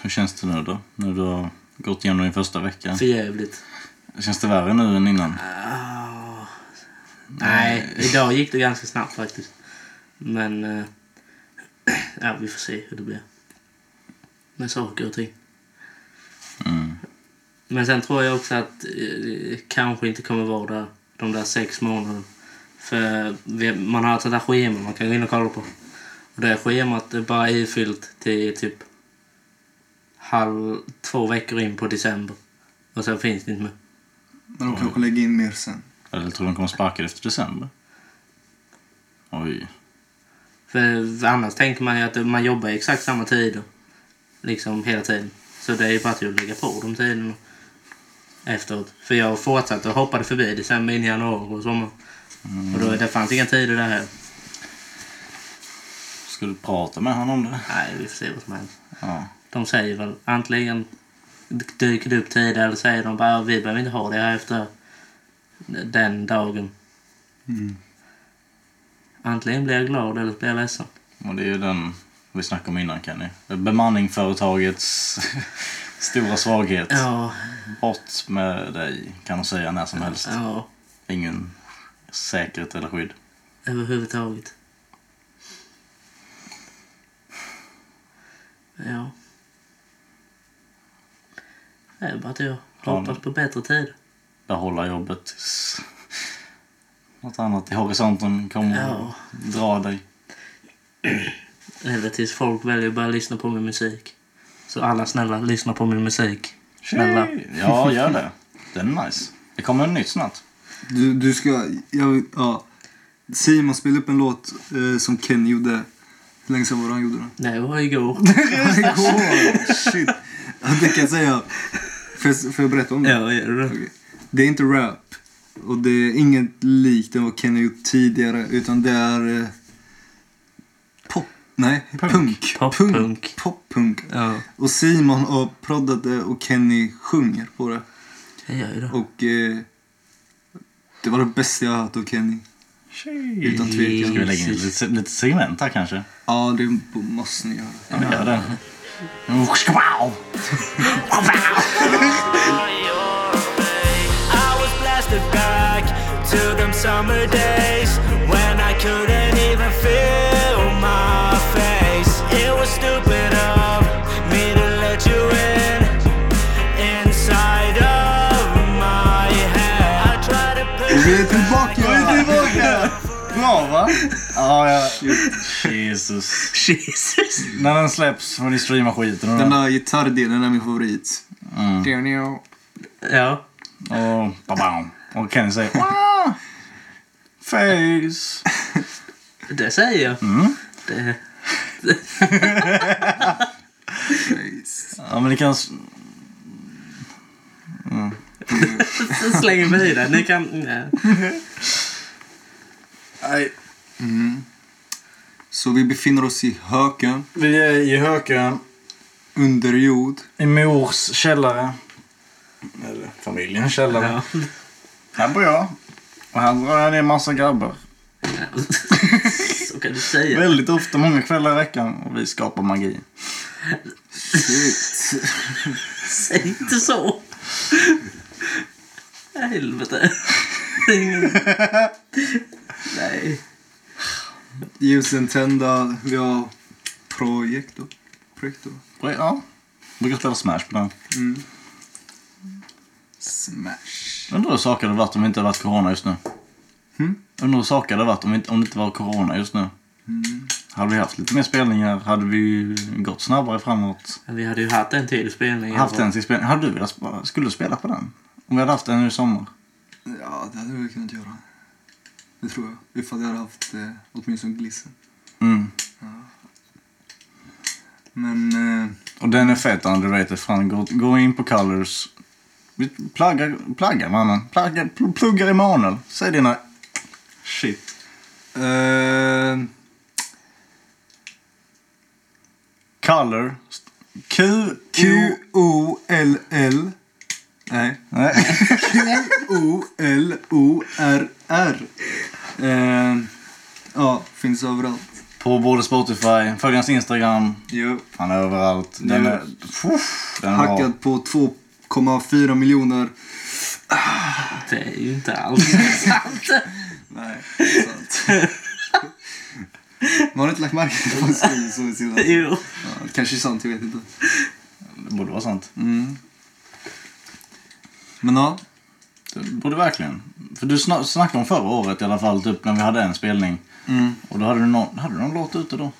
A: Hur känns det nu då? När du har gått igenom din första vecka.
B: För jävligt.
A: Känns det värre nu än innan?
B: Ah. Nej, idag gick det ganska snabbt faktiskt. Men eh, ja, vi får se hur det blir. Med saker och ting.
A: Mm.
B: Men sen tror jag också att eh, kanske inte kommer vara där de där sex månaderna. För vi, man har ett sånt där schema man kan gå in och kolla på. Och det schemat är bara ifyllt till typ halv, två veckor in på december. Och sen finns det inte mer.
C: Men de kanske lägger in mer sen.
A: Eller tror du de kommer sparka dig efter december? Oj.
B: För annars tänker man ju att man jobbar i exakt samma tider. Liksom hela tiden. Så det är ju bara till att lägga på de tiderna efteråt. För jag fortsatte och hoppade förbi december in i januari och sommar. Och då, det fanns inga tider där heller.
A: Ska du prata med honom om det?
B: Nej, vi får se vad som händer.
A: Ja.
B: De säger väl antingen dyker det upp tider eller säger de bara "Ah, vi behöver inte ha det här efter den dagen.
C: Mm.
B: Antingen blir jag glad eller så blir jag ledsen.
A: Och det är ju den vi snackade om innan Kenny. Bemanningsföretagets stora svaghet.
B: Ja,
A: Bort med dig kan de säga när som helst.
B: ja
A: Ingen säkerhet eller skydd.
B: överhuvudtaget. Ja. Det är bara att jag hoppas på bättre tider.
A: Behålla jobbet tills något annat i horisonten kommer
B: Ja.
A: att dra dig.
B: Eller tills folk väljer att börja lyssna på min musik. Så alla snälla, lyssna på min musik. Snälla.
A: Ja, gör det. Den är nice. Det kommer en nytt snart.
C: Du, du ska... Jag, ja. Simon spelade upp en låt eh, som Ken gjorde. Hur länge sedan var det han gjorde den?
B: Det var igår.
C: Igår! Shit. Ja, Det kan jag säga. Får jag, får jag berätta om det?
B: Ja, gör du det?
C: Okej. Det är inte rap. Och det är inget likt än vad Ken har gjort tidigare. Utan det är... Eh, pop. Nej,
A: Punk.
C: punk.
B: Poppunk.
C: Punk. Poppunk.
B: Ja,
C: Och Simon har proddat det och Kenny sjunger på det.
B: jag gör ju det.
C: Och eh, det var det bästa jag har hört av Kenny. Utan tvekan.
A: Ska vi lägga in lite, lite segment här kanske?
C: Ja, det b- måste ni göra.
A: Ja, vi gör det. Wow!
E: I was blasted back to them summer days when I couldn't even feel my face. It was stupid of me to let you in inside of my head. I tried to.
C: Vi är tillbaka! Vi är tillbaka!
A: Bra va? Ja, ja. Jesus.
B: Jesus.
A: När den släpps får ni streama skiten.
C: Den
A: Den
C: där gitarrdelen är min favorit.
B: Ja.
A: Och babam. Och Kenny säger "Wah!" Face.
B: Det säger jag. Det,
C: Nice.
A: Ja men det kan... s-
B: det slänger vi i det. Ni kan... Nej.
A: Nej.
C: Så vi befinner oss i höken,
A: Vi är i Hökön.
C: under jord.
A: I mors källare. Eller familjens källare.
B: Ja.
A: Här bor jag. Och här drar jag ner massa grabbar.
B: Så kan du säga.
A: Väldigt ofta, många kvällar i veckan. Och vi skapar magi.
C: Shit.
B: Säg inte så. Helvete. Nej.
C: Ljusen tända, vi har projektor. projektor.
A: Och ja. Brukar spela Smash på den.
C: Smash.
A: Undrar hur saker det hade varit om det inte hade varit corona just nu.
C: Hmm?
A: Undrar hur saker det hade varit om, inte, om det inte var corona just nu. Hade vi haft lite mer spelningar hade vi gått snabbare framåt.
B: Vi hade ju haft en till spelning.
A: Haft en till spelning. Hade du velat sp- skulle du spela på den? Om vi hade haft den nu i sommar.
C: Ja, det hade vi kunnat göra. Det tror jag. Ifall jag hade haft eh, åtminstone glissen.
A: Mm.
C: Men eh,
A: Och den är fet underrated. Fan, gå, gå in på Colors. Vi pluggar, pluggar mannen. Pluggar, pl- pluggar Emanuel. Säg dina... Shit.
C: eh,
A: Color. Q... Q...
C: Q-O-L-L. Nej.
A: Nej.
C: Q-O-L-O-R-R. Eh, ja, finns överallt.
A: På både Spotify, följ hans Instagram.
C: Jo.
A: Han är överallt. Den
C: Nu.
A: är... Fuff, den är bra.
C: Hackad på 2,4 miljoner.
B: Det är ju inte alls sant.
C: Nej, sant. Man har inte lagt märke till vad som är så i sidan.
B: Jo.
C: Ja, det kanske är sant, jag vet inte.
A: Det borde vara sant.
C: Mm. Men ja,
A: Det borde verkligen. För du sna- snackade om förra året i alla fall, typ när vi hade en spelning.
C: mm.
A: Och då hade du någon, hade du någon låt ute då?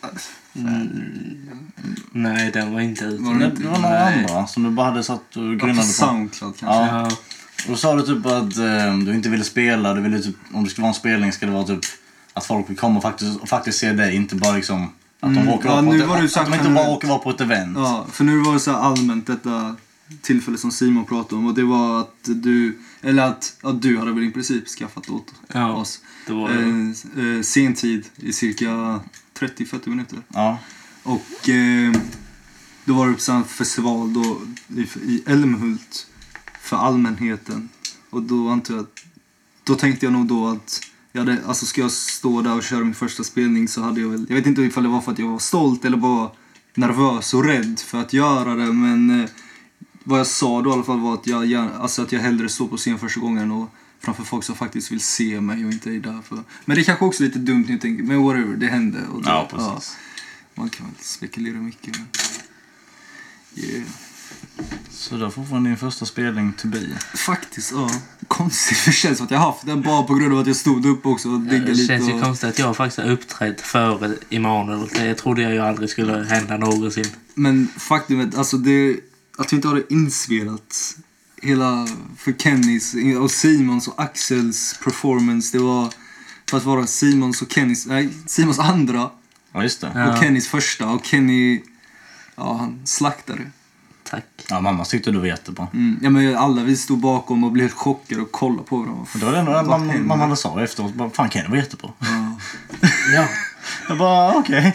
B: Nej, den var inte ute.
C: Var
A: Det,
C: den
A: det var några andra som du bara hade satt och
C: på
A: grinade på.
C: Soundcloud kanske.
A: Ja.
B: Ja.
A: Och då sa du typ att eh, du inte ville spela. Du ville typ, om det skulle vara en spelning ska det vara typ att folk vill komma och faktiskt, och faktiskt se dig. Inte bara liksom att de,
C: Mm.
A: råkar
C: Ja,
A: vara på
C: nu
A: ett,
C: var det ju
A: att
C: sagt
A: de inte bara
C: generellt.
A: råkar vara på ett event.
C: Ja, för nu var det så här allmänt detta tillfälle som Simon pratade om och det var att du, eller att ja, du hade väl i princip skaffat åt
B: Ja,
C: oss
B: det var det.
C: eh, eh, sen tid i cirka 30-40 minuter.
A: Ja.
C: Och eh, då var det på en festival då i, i Älmhult för allmänheten. Och då antar jag att, då tänkte jag nog då att jag hade, alltså ska jag stå där och köra min första spelning så hade jag väl, jag vet inte ifall det var för att jag var stolt eller bara nervös och rädd för att göra det men eh, vad jag sa då i alla fall var att jag, gärna- alltså att jag hellre står på scen första gången och framför folk som faktiskt vill se mig och inte är där för. Men det är kanske också är lite dumt när jag tänker, men whatever, det hände. Och det,
A: Ja, precis.
C: man kan väl inte spekulera mycket men... Yeah.
A: Så där får man din första spelning to be.
C: Faktiskt, ja. Konstigt. Det känns som att jag haft den bara på grund av att jag stod upp också och diggade
B: Det
C: lite.
B: känns ju
C: och...
B: konstigt att jag faktiskt har uppträtt före Emanuel. Det trodde jag ju aldrig skulle hända någonsin.
C: Men faktumet, alltså det... Att vi inte har det inspelat. Hela... För Kennys och Simons och Axels performance, det var... För att vara Simons och Kennys... Nej, Simons andra
A: Ja, just det.
B: Ja.
C: och Kennys första. Och Kenny... Ja, han slaktade.
B: Tack.
A: Ja, mamma tyckte du var jättebra.
C: Mm. Ja, men alla vi stod bakom och blev helt chockade och kollade på varandra.
A: Men det var det enda
C: Vad
A: mamma,
C: händer?
A: mamma sa efteråt. Bara, Fan, Kenny var jättebra.
C: Ja. Mm.
B: Ja.
A: Jag bara, okej.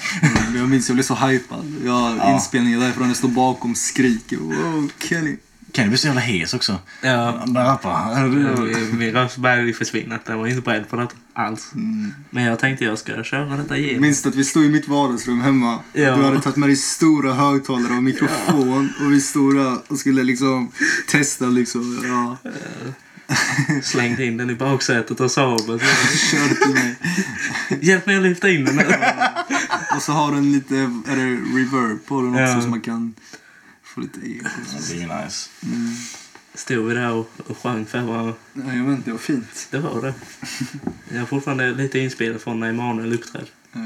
C: Jag minns jag blev så hypad. Jag har
A: Ja.
C: inspelningar därifrån, jag står bakom skriker wow Kenny.
A: Kenny blir så jävla hes också.
B: ja.
A: Han börjar rappa.
C: Mm.
B: Min- Min röst började ju försvinna. Jag var inte beredd på det alls.
C: Mm.
B: Men jag tänkte jag ska köra detta
C: Jag
B: igen.
C: minns att vi stod i mitt vardagsrum hemma.
B: Ja.
C: Du hade tagit med dig stora högtalare och mikrofon och vi stod där och skulle liksom testa liksom. Ja,
B: Slängde in den i baksätet och Saabet.
C: körde till mig.
B: Hjälp mig att lyfta in den.
C: Och så har den lite, är det reverb på den också
B: Ja.
C: så man kan få lite eko.
A: Det blir nice.
B: stod vi där och, och sjöng för varandra.
C: Jajamän, det var fint.
B: Det var det. Jag har fortfarande lite inspelat från när Emanuel uppträdde.
C: Ja.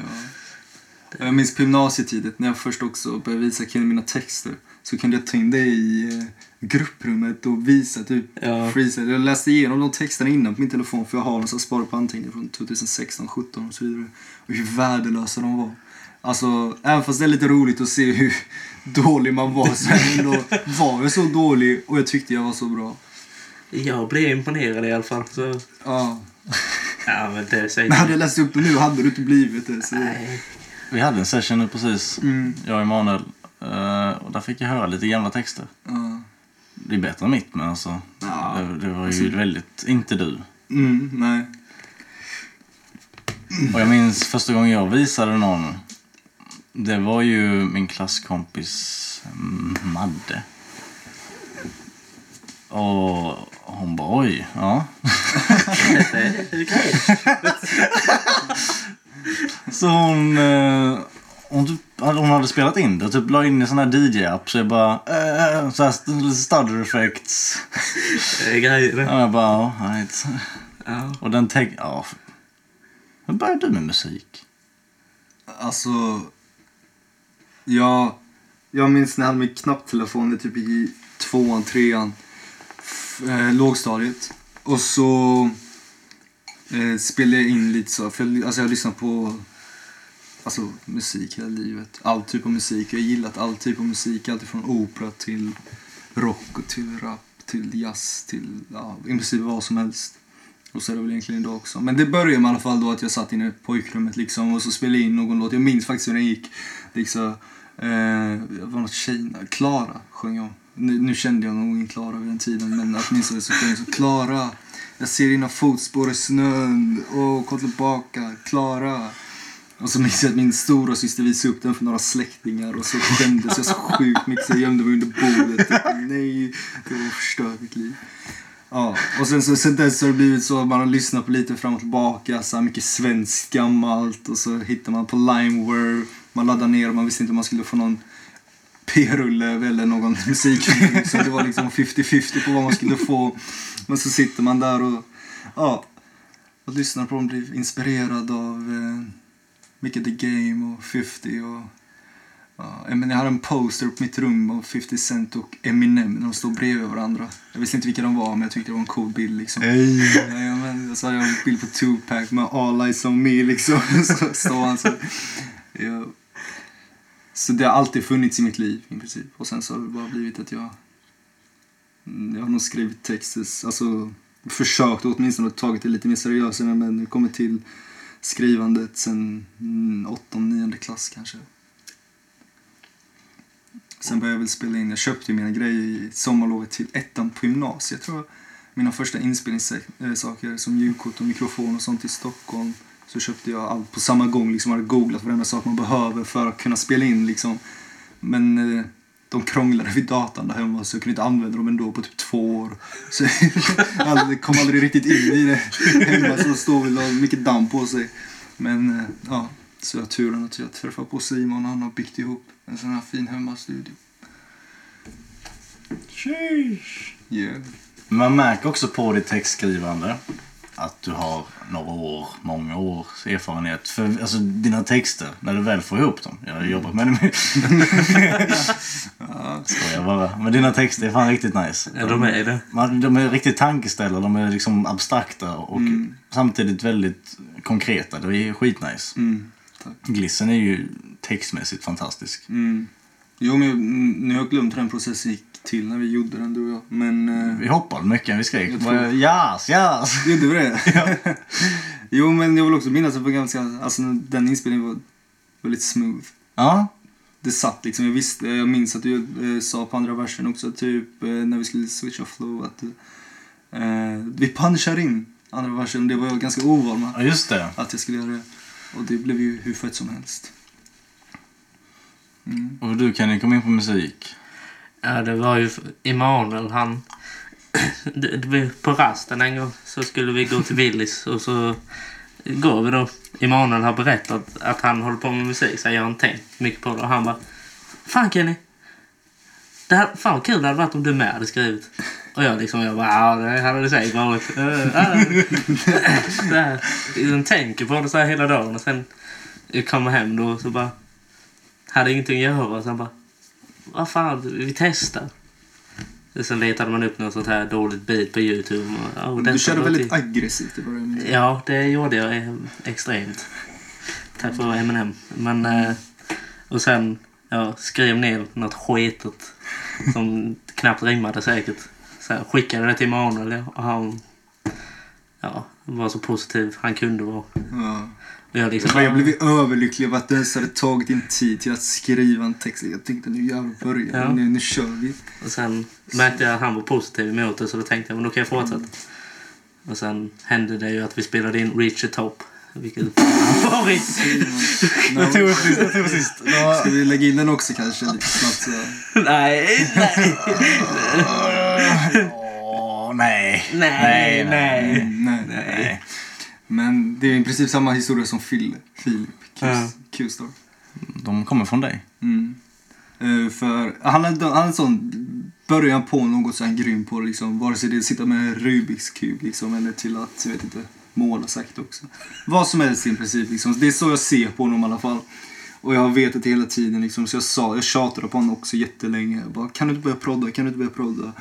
C: Jag minns på gymnasietiden när jag först också började visa killen mina texter. Så kunde jag ta in det i eh, grupprummet och visa typ
B: Ja.
C: freestyle. Jag läste igenom de texterna innan på min telefon för jag har dem så jag sparar på anteckningar från 2016, 17 och så vidare. Och hur värdelösa de var. Alltså, även fast det är lite roligt att se hur dålig man var så ändå var jag så dålig och jag tyckte jag var så bra.
B: Jag blev imponerad i alla fall. Så.
C: Ja.
B: Ja, men det säger
C: Men hade jag läst upp det nu hade du inte blivit det. Så...
B: Nej.
A: Vi hade en session nu precis,
C: Mm.
A: jag och Emanuel. eh, och där fick jag höra lite gamla texter.
C: Ja.
A: Det är bättre än mitt, men alltså.
C: Ja.
A: Det, det var ju väldigt... Inte du.
C: Mm, nej.
A: Och jag minns första gången jag visade någon. Det var ju min klasskompis mm, Madde. Och hon bara oj, ja.
B: Detta är okej.
A: Så hon, eh, hon, typ, hon hade spelat in det och typ la in i sån här DJ-app. Så jag bara, eh, så här lite stutter effects.
B: Det är grejer.
A: Och jag bara, ja, right.
B: Ja.
A: Och den tänkte, ja. f- Hur började du med musik?
C: Alltså... Jag, jag minns när jag hade min knapptelefon typ i tvåan, trean. f- Eh, lågstadiet. Och så eh, spelade jag in lite så. För jag, alltså jag har lyssnat på alltså, musik hela livet. All typ av musik. Jag har gillat all typ av musik. Allt från opera till rock och till rap till jazz till ja, i princip vad som helst. Och så är det väl egentligen idag också. Men det började med i alla fall då att jag satt inne i pojkrummet liksom och så spelade jag in någon låt. Jag minns faktiskt hur den gick. Liksom, eh, det var något Kina, Klara sjöng jag. Nu, nu kände jag nog ingen Klara vid den tiden men åtminstone så sjöng jag så Klara. Jag ser dina fotspår i snön. Åh, kom tillbaka. Klara. Och så minns jag att min stora syster visade upp den för några släktingar och så skämdes jag så sjukt mycket så jag gömde mig under bordet. Nej, det var förstört mitt liv. Ja, och sen, så, sen dess har det blivit så att man har lyssnat på lite fram och tillbaka, så här mycket svenskt gammalt och så hittar man på Limeware, man laddar ner och man visste inte om man skulle få någon p-rulle eller någon musikvideo så det var liksom 50-50 på vad man skulle få. Men så sitter man där och, ja, och lyssnar på dem, blir inspirerad av eh, mycket The Game och 50 och Ja, men jag hade en poster på mitt rum av 50 Cent och Eminem när de står bredvid varandra. Jag visste inte vilka de var men jag tyckte det var en cool bild liksom.
A: Eh,
C: Ja, men, så hade jag en bild på Tupac med All Eyes On Me liksom. Så står han så. Ja. Så det har alltid funnits i mitt liv i princip. Och sen så har det bara blivit att jag... Mm, Jag har nog skrivit texter, alltså försökt åtminstone att tagit det lite mer seriöst än jag, men det kommer till skrivandet sen mm, åttonde, nionde klass kanske. Sen började jag väl spela in. Jag köpte ju mina grejer i sommarlovet till ettan på gymnasiet tror jag. Mina första inspelningssaker eh, som ljudkort och mikrofon och sånt i Stockholm. Så köpte jag allt på samma gång. Liksom hade googlat varenda sak man behöver för att kunna spela in liksom. Men eh, de krånglade vid datan där hemma så jag kunde inte använda dem ändå på typ två år. Så jag aldrig- kom aldrig riktigt in i det hemma. Så de står väl och har mycket damm på sig. Men eh, ja, så jag har turen att jag träffar på Simon och han har byggt ihop en sån här fin hemmastudio. Yeah.
A: Man märker också på ditt textskrivande att du har några år, många års erfarenhet. För alltså, dina texter, när du väl får ihop dem. Jag har jobbat med dem. Skojar bara. Men dina texter är fan riktigt nice.
B: Ja, de är det.
A: Man, de är riktigt tankeställare, de är liksom abstrakta och
C: Mm.
A: samtidigt väldigt konkreta. Det är skitnice.
C: Mm, tack.
A: Glissen är ju textmässigt fantastisk.
C: Mm. Jo, men jag- mm, nu har jag glömt hur den processen gick till när vi gjorde den, du och jag. Men... eh,
A: Vi hoppade mycket, vi skrek.
C: Jag
A: Jag
C: tror-
A: tror... Yes, yes!
C: Gjorde vi det? jo, men jag vill också minnas att det var ganska... Alltså, den inspelningen var väldigt smooth.
A: Ja,
C: det satt liksom. Jag, visste, jag minns att du eh, sa på andra versen också, typ eh, när vi skulle switcha flow, att eh, vi punchar in andra versen. Det var jag ganska ovan med,
A: ja, just det.
C: att jag skulle göra det. Och det blev ju hur fett som helst. Mm.
A: Och du kan ju komma in på musik.
B: Ja, det var ju Emanuel, han... Det, det var på rasten en gång så skulle vi gå till Willys och så går vi då. Emanuel har berättat att han håller på med musik så jag har inte tänkt mycket på det och han bara Fan Kenny! Det här, fan vad kul det hade varit om du med hade skrivit. Och jag liksom, jag bara, ja det hade det säkert varit. Eh, eh. Så här, Den tänker på det så här hela dagen och sen jag kommer hem då och så bara, hade ingenting att göra. Och sen bara, vad fan, vi testar. Och Sen letade man upp något sånt här dåligt bit på Youtube. Och, oh,
C: Du
B: detta
C: körde
B: låter-
C: väldigt aggressivt i början.
B: Ja, det gjorde jag eh, extremt. Tack för M&M. Men, eh, och sen ja, skrev ner något skitigt som knappt rimmade säkert. Sen skickade det till Manuel och han ja, var så positiv han kunde vara.
C: Ja.
B: Och jag liksom,
C: Men Jag blev ju överlycklig över att du ens hade tagit din tid till att skriva en text. Jag tänkte nu jävlar börjar
B: Ja.
C: vi. nu, nu kör vi.
B: Och sen märkte jag att han var positiv emot det så då tänkte jag men då kan jag fortsätta. Och sen hände det ju att vi spelade in Reach the Top. Vilket var riktigt...
A: Jag tog precis. Jag tog precis. Det var-
C: Ska vi lägga in den också kanske lite snabbt? Så.
B: Nej, nej,
A: Åh, nej.
B: nej, nej.
C: Mm, Nej.
A: Nej.
C: Men det är i princip samma historia som Phil, Filip Q-
B: Ja.
C: Q-star.
A: De kommer från dig.
C: Mm. Eh, för han hade, han hade sån början på något så är han grym på det, liksom. Vare sig det är att sitta med en Rubiks kub liksom, eller till att, jag vet inte, måla säkert också. Vad som helst i princip liksom. Det är så jag ser på honom i alla fall. Och jag har vetat det hela tiden liksom. Så jag sa, jag tjatade på honom också jättelänge. Jag bara, kan du inte börja prodda, kan du inte börja prodda?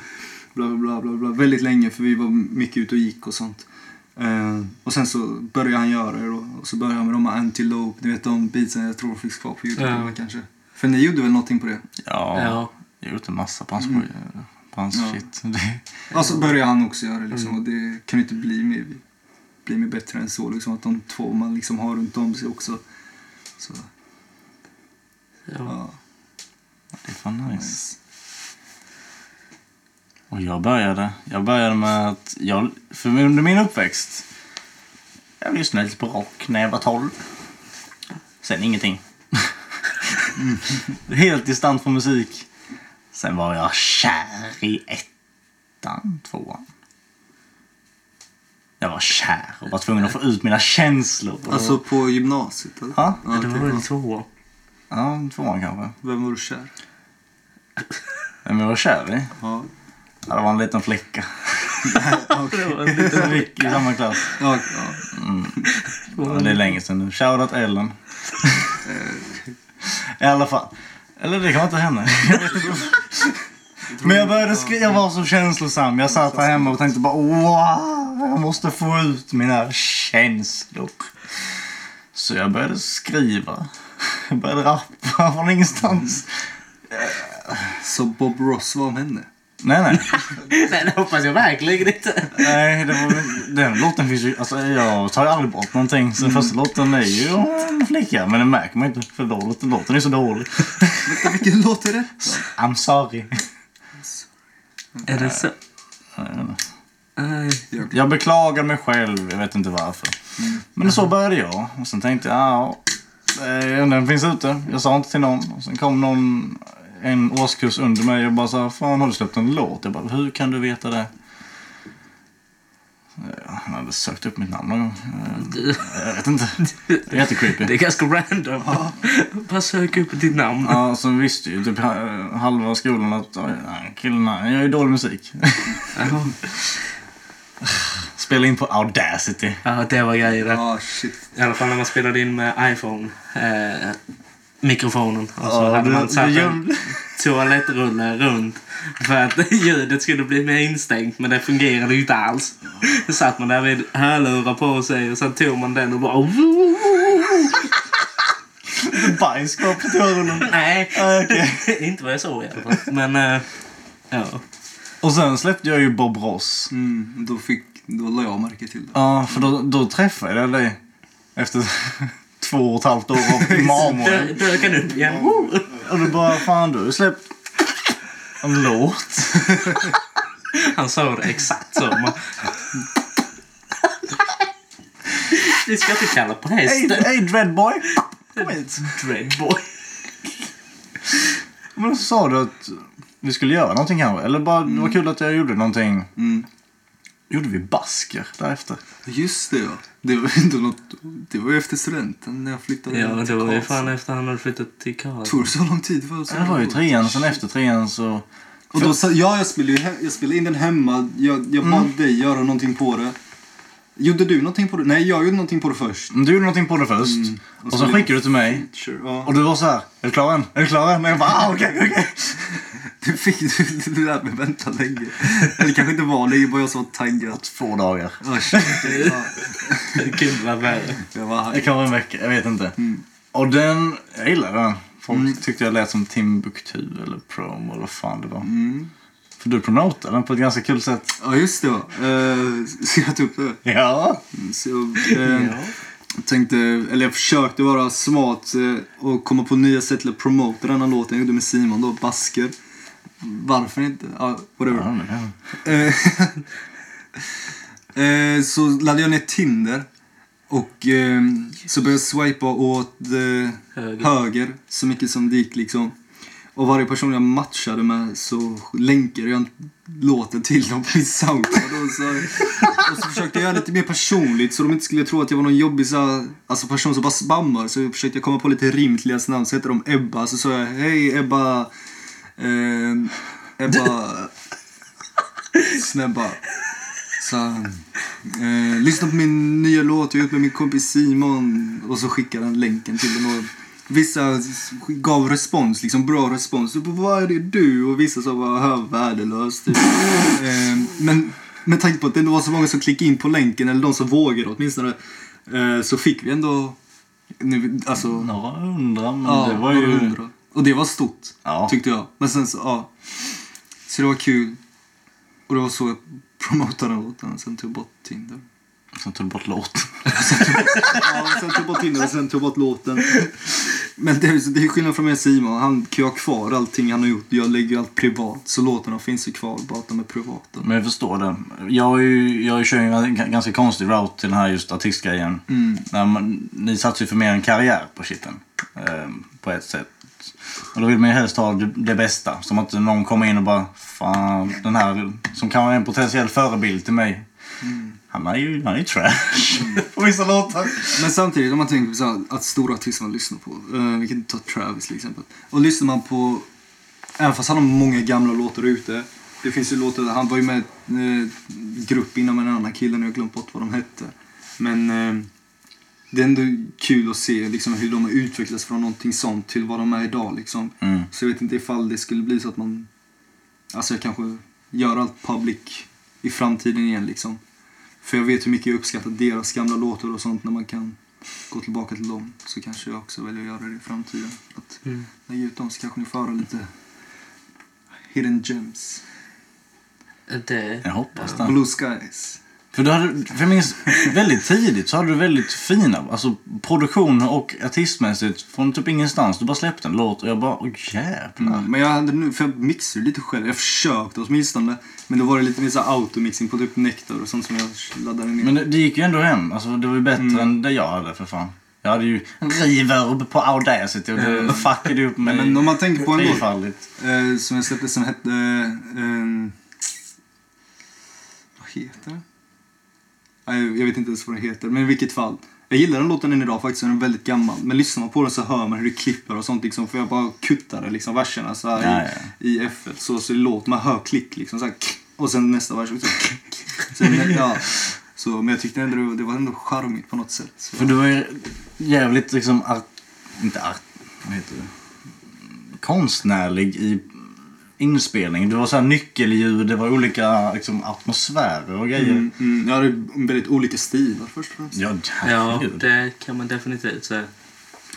C: Bla, bla, bla, bla, bla. Väldigt länge för vi var mycket ute och gick och sånt. Eh, och sen så började han göra det då. Och så började han med de här Antilope, ni vet de beatsen jag tror finns kvar på Youtube
B: Ja.
C: eller vad kanske. För ni gjorde väl någonting på det?
A: Ja. Mm.
B: Ja.
A: Jag har gjort en massa branschskoj. Branschshit. Det-
C: Och så började han också göra det liksom,
B: Mm.
C: och det kunde inte bli mer, bli mer bättre än så. Liksom, att de två man liksom har runt om sig också. Så,
B: Ja.
C: ja.
A: Det är fan nice. Och jag började, jag började med att jag, för under min uppväxt, jag lyssnade lite på rock när jag var 12. Sen ingenting. Helt distant från musik. Sen var jag kär i ettan, tvåan. Jag var kär och var tvungen att få ut mina känslor.
C: Alltså på gymnasiet? Eller?
A: Ja.
B: Det var
C: typ.
B: väl två.
A: Ja, tvåan kanske.
C: Vem var du kär?
A: Vem jag var kär i?
C: Ja,
A: Ja, det var en liten flicka.
B: Det var en liten-
A: Vi gick i samma klass.
C: ja, ja.
A: Ja, det är länge sedan nu. Shoutout Ellen. I alla fall. Eller det kan vara inte henne. Jag vet inte. Men jag började skriva, jag var så känslosam. Jag satt här hemma och tänkte bara wow, jag måste få ut mina känslor. Så jag började skriva. Jag började rappa från ingenstans.
C: Så Bob Ross var om henne?
A: Nej, nej.
B: Nej, det hoppas jag verkligen inte.
A: nej det var, den låten finns ju, alltså jag tar ju aldrig bort någonting. Så den första låten är ju om en flicka. Men det märker man inte för låten, låten är så dålig.
C: Vänta, vilken låt är det?
A: I'm sorry.
B: Är det så? Nej.
A: Jag beklagar mig själv, jag vet inte varför. Men så började jag. Och sen tänkte jag, "Ah, ja, eh, den finns ute. Jag sa inte till någon. Och sen kom någon, en årskurs under mig och bara sa, fan har du släppt en låt? Jag bara, hur kan du veta det? Eh, Han hade sökt upp mitt namn någon gång. Eh, Jag vet inte. Det är jättecreepy.
B: Det är ganska random. Bara sök upp ditt namn.
A: Ja, så visste ju typ eh, halva skolan att "Oj, nej, killen här gör ju dålig musik.
B: Ja.
A: Spelade in på Audacity.
B: Ja, det var grejer det.
C: Ja, shit.
B: I alla fall när man spelade in med iPhone. Eh, mikrofonen. Och så
A: Ja,
B: hade
A: du-
B: man satt
A: du
B: en
A: gömde-
B: toalettrulle runt. För att ljudet skulle bli mer instängt. Men det fungerade ju inte alls. Då satt man där med hörlurar på sig och sen tog man den och bara...
A: Bajskorv på toarullen.
B: Nej,
A: Ja, okej.
B: inte vad jag såg i alla fall. Men, eh, ja.
A: Och sen släppte jag ju Bob Ross.
C: Mm, då, fick, då la jag märke till det.
A: Ja, för då, då träffade jag dig efter två och ett halvt år av marmor.
B: Dö- Dök han upp igen? Woo!
A: Och du bara, fan du har ju släppt en låt.
B: Han sa det exakt så. Man... Vi ska inte kalla på
A: Hej,
B: hästen.
A: hej Dreadboy! Kom hit.
B: Dreadboy.
A: Men då sa du att vi skulle göra någonting kanske. Eller bara, det var kul att jag gjorde någonting.
C: Mm.
A: gjorde vi basker därefter.
C: Just det ja. Det var, inte något, det var ju efter studenten när jag flyttade
B: Ja,
C: hem
B: det
C: till
B: var ju
C: Karlstad.
B: fan efter han hade flyttat till Karlstad.
C: Tog det så lång tid för oss?
A: Det var ju trean, sen efter trean så...
C: Och då, sa- ja, jag spelade, ju he- jag spelade in den hemma. Jag, jag bad dig göra någonting på det. Gjorde du någonting på det? Nej, jag gjorde någonting på det först.
A: Du gjorde någonting på det först.
C: Och
A: Och,
C: så
A: sen
C: lite-
A: skickade du till mig.
C: Sure, ja.
A: Och du var så här, är du klar än? Är du klar än? Och jag bara, ah, okej, okej.
C: Du fick du, det där med att vänta länge. Eller kanske inte var länge, bara jag så var taggad.
A: Två dagar.
C: Ja, shit, ja.
B: Gud vad värre.
C: Jag var
A: Det
C: high.
A: kan vara en vecka, jag vet inte. Och den, jag gillade den. Folk tyckte jag lät som Timbuktu eller Prom eller vad fan det var. För du promotade den på ett ganska kul sätt.
C: Ja, just det. ja. Eh, Ska jag ta upp det?
A: Ja.
C: Så jag eh, tänkte, eller jag försökte vara smart eh, och komma på nya sätt till att promota den här låten jag gjorde med Simon då, Basker. Varför inte? Ja, whatever.
A: Ja, men det-
C: Eh, eh, så laddade jag ner Tinder och eh, så började jag swipa åt eh,
B: Höger.
C: höger. så mycket som det gick liksom. Och varje person jag matchade med så länkade jag låten till dem på min Soundcloud. Och så, och så försökte jag göra lite mer personligt så de inte skulle tro att jag var någon jobbig så här, alltså person som bara spammar. Så jag försökte komma på lite rim till deras namn. Så hette de Ebba. Så sa jag hej Ebba. Eh, Ebba. Snäbba. Så, eh, lyssna på min nya låt jag har gjort med min kompis Simon. Och så skickade han länken till den. Och vissa gav respons, liksom bra respons. Typ, vad är det du? Och vissa sa bara, hör värdelös. Typ. eh, men med tanke på att det ändå var så många som klickade in på länken, eller de som vågade åtminstone, eh, så fick vi ändå... Nu, alltså,
A: Några hundra, men
C: ja,
A: det var
C: några
A: ju...
C: hundra. Och det var stort,
A: Ja.
C: tyckte jag. Men sen så, ja. Så det var kul. Och det var så jag promotade den låten. Sen tog jag bort Tinder.
A: Sen tog du bort låten.
C: Ja, sen tog jag bort Tinder och sen tog jag bort låten. Men det är, det är skillnad från mig och Simon. Han kan ju ha kvar allting han har gjort. Jag lägger ju allt privat. Så låtarna finns ju kvar, bara att de är privata.
A: Men jag förstår det. Jag, är ju, jag kör ju en g- ganska konstig route till den här just artistgrejen. När man, ni satsar ju för mer en karriär på shiten. Ehm, på ett sätt. Och då vill man ju helst ha det, det bästa. Som att någon kommer in och bara Fan, den här som kan vara en potentiell förebild till mig. Han är ju, han är ju trash på vissa låtar.
C: Men samtidigt, om man tänker på så här, att stora artister man lyssnar på. eh, vi kan ta Travis till exempel. Och lyssnar man på... Även fast han har många gamla låtar ute. Det finns ju låtar, han var ju med i en eh, grupp innan med en annan kille, nu har jag glömt bort vad de hette. Men eh, det är ändå kul att se liksom, hur de har utvecklats från någonting sånt till vad de är idag. Liksom.
A: Mm.
C: Så jag vet inte ifall det skulle bli så att man... Alltså jag kanske gör allt public i framtiden igen liksom. För jag vet hur mycket jag uppskattar deras gamla låtar och sånt när man kan gå tillbaka till dem. Så kanske jag också väljer att göra det i framtiden. Att
B: Mm.
C: lägga ut dem så kanske ni får höra lite hidden gems.
B: Det.
A: Jag hoppas det.
C: Blue skies.
A: För, du hade, för jag minns väldigt tidigt så hade du väldigt fina, alltså produktion och artistmässigt från typ ingenstans. Du bara släppte en låt och jag bara, åh jävlar.
C: Men jag hade nu, för jag mixade lite själv. Jag försökte åtminstone. Men då var det lite mer så här automixing på typ Nectar och sånt som jag laddade ner.
A: Men det, det gick ju ändå hem. Alltså, det var ju bättre
C: Mm.
A: än det jag hade för fan. Jag hade ju en reverb på Audacity och det fuckade upp mig
C: Mm. Men om man tänker på en låt.
A: trefaldigt.
C: Eh, som jag släppte som hette... Eh, ehm, vad heter den? Nej, jag vet inte ens vad den heter, men i vilket fall. Jag gillar den låten än idag faktiskt, den är väldigt gammal. Men lyssnar man på den så hör man hur det klipper och sånt liksom. För jag bara kuttade liksom verserna så här
A: Ja,
C: i, i FL. Så, så det låter, man hör klick liksom så här, klick. Och sen nästa vers också. klick, klick. Sen, ja. så, men jag tyckte ändå det var- det var ändå charmigt på något sätt. Så.
A: För du var ju jävligt liksom art... Inte art... Vad heter det? Konstnärlig i inspelning. Det var så här nyckelljud, det var olika liksom, atmosfärer och grejer.
C: Mm, mm, jag hade väldigt olika stilar först och främst.
A: Ja,
B: Ja,
A: herregud.
B: det kan man definitivt säga.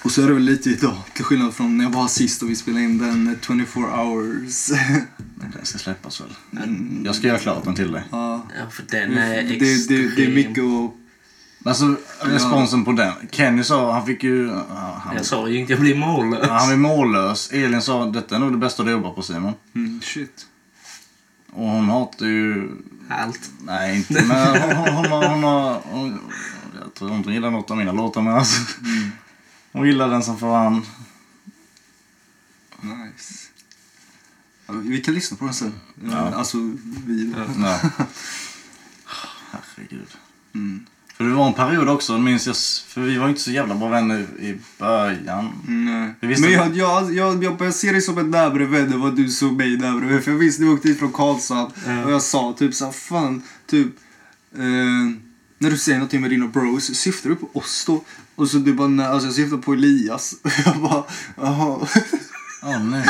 C: Och så är det väl lite idag, till skillnad från när jag var sist och vi spelade in den eh, 24 hours.
A: Men Den ska släppas väl? Jag ska göra klart den till dig.
C: ja.
B: Ja, för den är
C: Mm, det, det, det är
B: extrem.
C: mycket att...
A: Alltså responsen på den. Kenny sa, han fick ju... ja, han,
B: Jag sa ju inte jag blir mållös.
A: Ja, Han är mållös. Elin sa detta är nog det bästa du jobbar på Simon.
C: Mm, shit.
A: Och hon hatar ju...
B: Allt.
A: Nej, inte men hon, hon, hon, har- hon har... Hon, jag tror inte hon gillar något av mina låtar men alltså. Hon gillar den som fan.
C: Nice. Ja, vi kan lyssna på den sen.
A: Ja.
C: Alltså, vi...
A: Ja. herregud. För det var en period också, minns jag, s- för vi var ju inte så jävla bra vänner i början.
C: Nej.
A: Vi visste-
C: Men jag, jag, jag, jag, jag ser dig som en närmare vän än vad du såg mig närmare För jag visste du åkte hit från Karlshamn och jag sa typ så här, fan, typ. Eh, när du säger någonting med dina bros, syftar du på oss då? Och så du bara, nej, alltså jag syftar på Elias. Och jag bara, jaha.
A: Åh nej.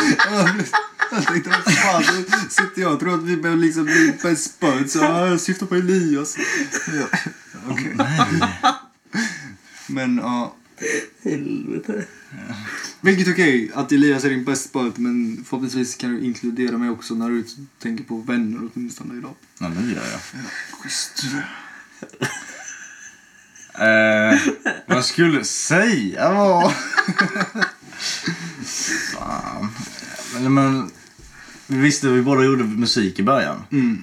C: Jag tänkte, vad fan, nu sitter jag och tror att vi behöver liksom bli på en spöt. Så "Ah, jag syftar på Elias. Ja. Okej.
A: nej.
C: Men ja.
B: Helvete.
C: Vilket är okej att Elias är din bästa spöt men förhoppningsvis kan du inkludera mig också när du tänker på vänner åtminstone idag.
A: Nej, det gör jag.
C: Schysst.
A: Eh, vad jag skulle säga var... Fan. Men, men, vi visste att vi båda gjorde musik i början.
C: Mm.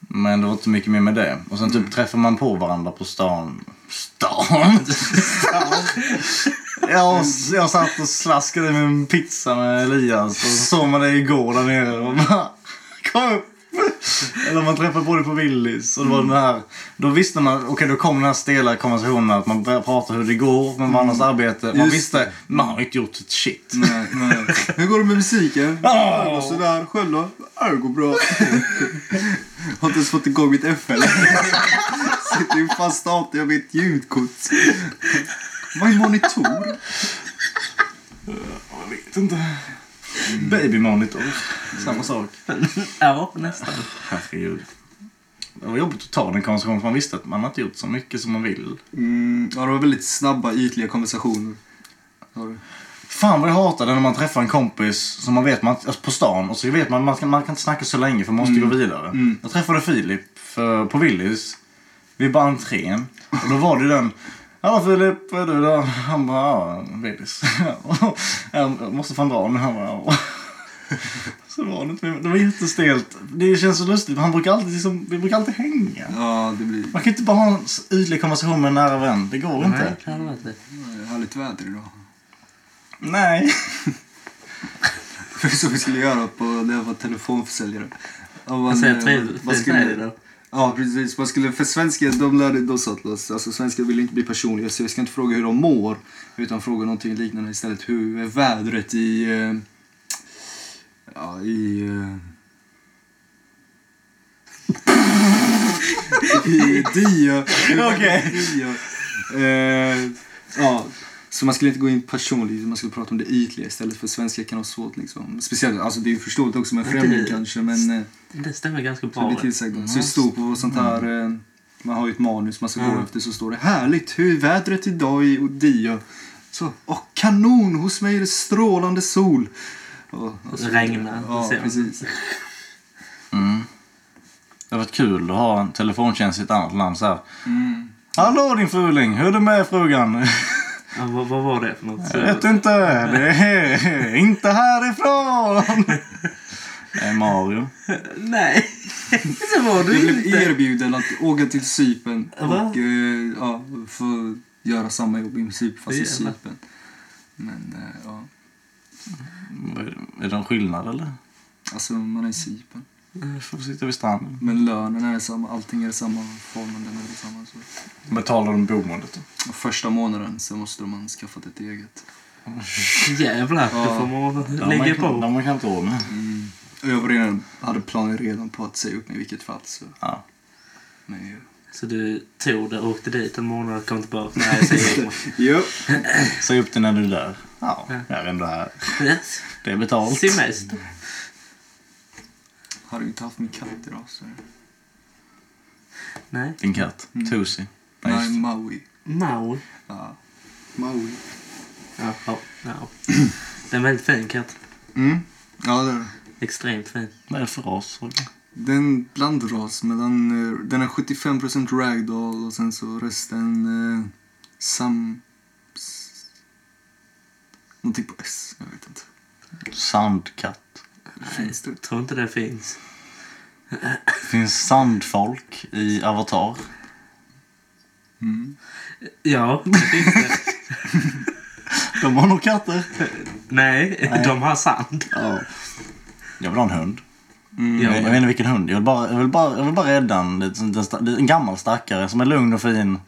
A: Men det var inte mycket mer med det. Och sen typ träffar man på varandra på stan. Stan? jag, jag satt och slaskade med en pizza med Elias och så såg man det igår där nere och bara Kom upp! Eller man träffade på det på Willys och det var
C: Mm.
A: den här. Då visste man, okej då kom den här stela konversationen att man började prata hur det går med varandras arbete. Man
C: Mm. Just Mm.
A: visste, man har inte gjort ett shit.
C: Nej, nej. Hur går det med musiken?
A: Ah!
C: Det går sådär. Själv då? Ja, Det går bra. Har inte ens fått igång mitt FL. Sitter ju fast dator med ett ljudkort. Vad är monitor?
A: Jag vet inte. Baby monitor. Samma sak.
B: Ja, nästan.
A: Herregud. Det var jobbigt att ta den konversationen för man visste att man inte gjort så mycket som man vill.
C: Mm, ja, det var väldigt snabba, ytliga konversationer. Ja, det-
A: Fan vad jag hatar det när man träffar en kompis som man vet man, alltså på stan och så vet man man kan, man kan inte snacka så länge för man måste gå vidare. Jag träffade Filip för, på Willys vid bara entrén och då var det ju den Hallå Filip, vad är du då? Han bara, ja, Willys. Jag måste fan dra nu. Han bara, ja. Så var det inte mer. Det var jättestelt. Det känns så lustigt. Han brukar alltid liksom, vi brukar alltid hänga.
C: Ja, det blir
A: Man kan inte bara ha en s- ytlig konversation med en nära vän. Det går inte.
B: Nej, helvete.
C: det är eh, härligt väder idag.
A: Nej.
C: För som vi skulle göra på när jag var telefonförsäljare. Om man,
B: Vad säger
C: eh,
B: tredje-
C: vad
B: tredje
C: skulle-
B: då?
C: Ja, precis. Man skulle, för svenskar, de lärde de sa till oss, alltså svenskar vill inte bli personliga så jag ska inte fråga hur de mår utan fråga någonting liknande istället. Hur är vädret i... Eh, ja, i... Eh, I Dio.
A: Okej.
C: Dio. Eh, ja. Så man skulle inte gå in personligt, man skulle prata om det ytliga istället för svenskar kan ha svårt liksom. Speciellt, alltså det är ju förståeligt också med en främling
B: det- Mm.
C: kanske men... Eh,
B: Det stämmer ganska
C: så
B: bra.
C: blir tillsagda. Så det stod på sånt här...
B: Mm.
C: eh, Man har ju ett manus man ska gå efter. Så står det härligt. Hur är vädret idag i Odio? Så, och kanon! Hos mig är det strålande sol. Och, och så-
B: Regnar,
C: Ja,
B: ser man.
C: precis.
A: Det har varit kul att ha en telefontjänst i ett annat land så här. Hallå din fuling, hur är det med frugan?
B: Ja, vad, vad var det för något?
A: Jag vet inte, det är inte härifrån. Det är Mario.
B: Nej, så var
C: Jag
B: du
C: blev
B: inte.
C: erbjuden att åka till Cypern
B: Va?
C: och eh, ja, få göra samma jobb i princip fast i
B: Jävlar.
C: Cypern. Men eh, ja,
A: Är det en skillnad eller?
C: alltså man är i Cypern.
A: Vi får sitta vid stranden.
C: Men lönen är samma, allting är samma, formen är samma. Så.
A: Betalar de boendet då?
C: Första månaden så måste man skaffa ett eget.
B: Jävlar,
C: Ja.
B: då får
A: Det
B: man
A: har man
B: lägga
A: kan- det har
B: på.
A: man kan inte råd med.
C: Och Jag var redan, hade planer redan på att säga upp mig i vilket fall. Så.
A: Ja.
C: Men, ju-
B: Så du tog det, åkte dit en månad och kom tillbaka. Nej, säger jag.
C: jo.
A: Säg upp det när du är där. Ja, jag är ändå här.
B: Yes.
A: Det är betalt.
B: Semester.
C: Hade ju inte haft min katt idag. Så.
B: Nej.
A: Din katt, Tusi. Ja, just
C: Nej,
A: det.
C: Maui.
B: Mau.
C: Ja. Maui.
B: Ja, ja, ja. Det är en väldigt fin katt.
C: Mm. Ja, det är det.
B: Extremt fin.
A: Vad är det för ras?
C: Det är en blandras. Mellan, eh, den är 75% ragdoll och sen så resten eh, sam... s- Någonting på S. Jag vet inte.
A: Sandkatt.
C: Finns det?
B: Jag tror inte det finns.
A: Det finns sandfolk i Avatar.
B: Ja, det finns det.
A: De har nog katter.
B: Nej, de har sand.
A: Ja. Jag vill ha en hund.
B: Ja,
A: jag, jag
B: men-
A: vet inte vilken hund. Jag vill bara, jag vill bara, jag vill bara rädda en, en, en gammal stackare som är lugn och fin.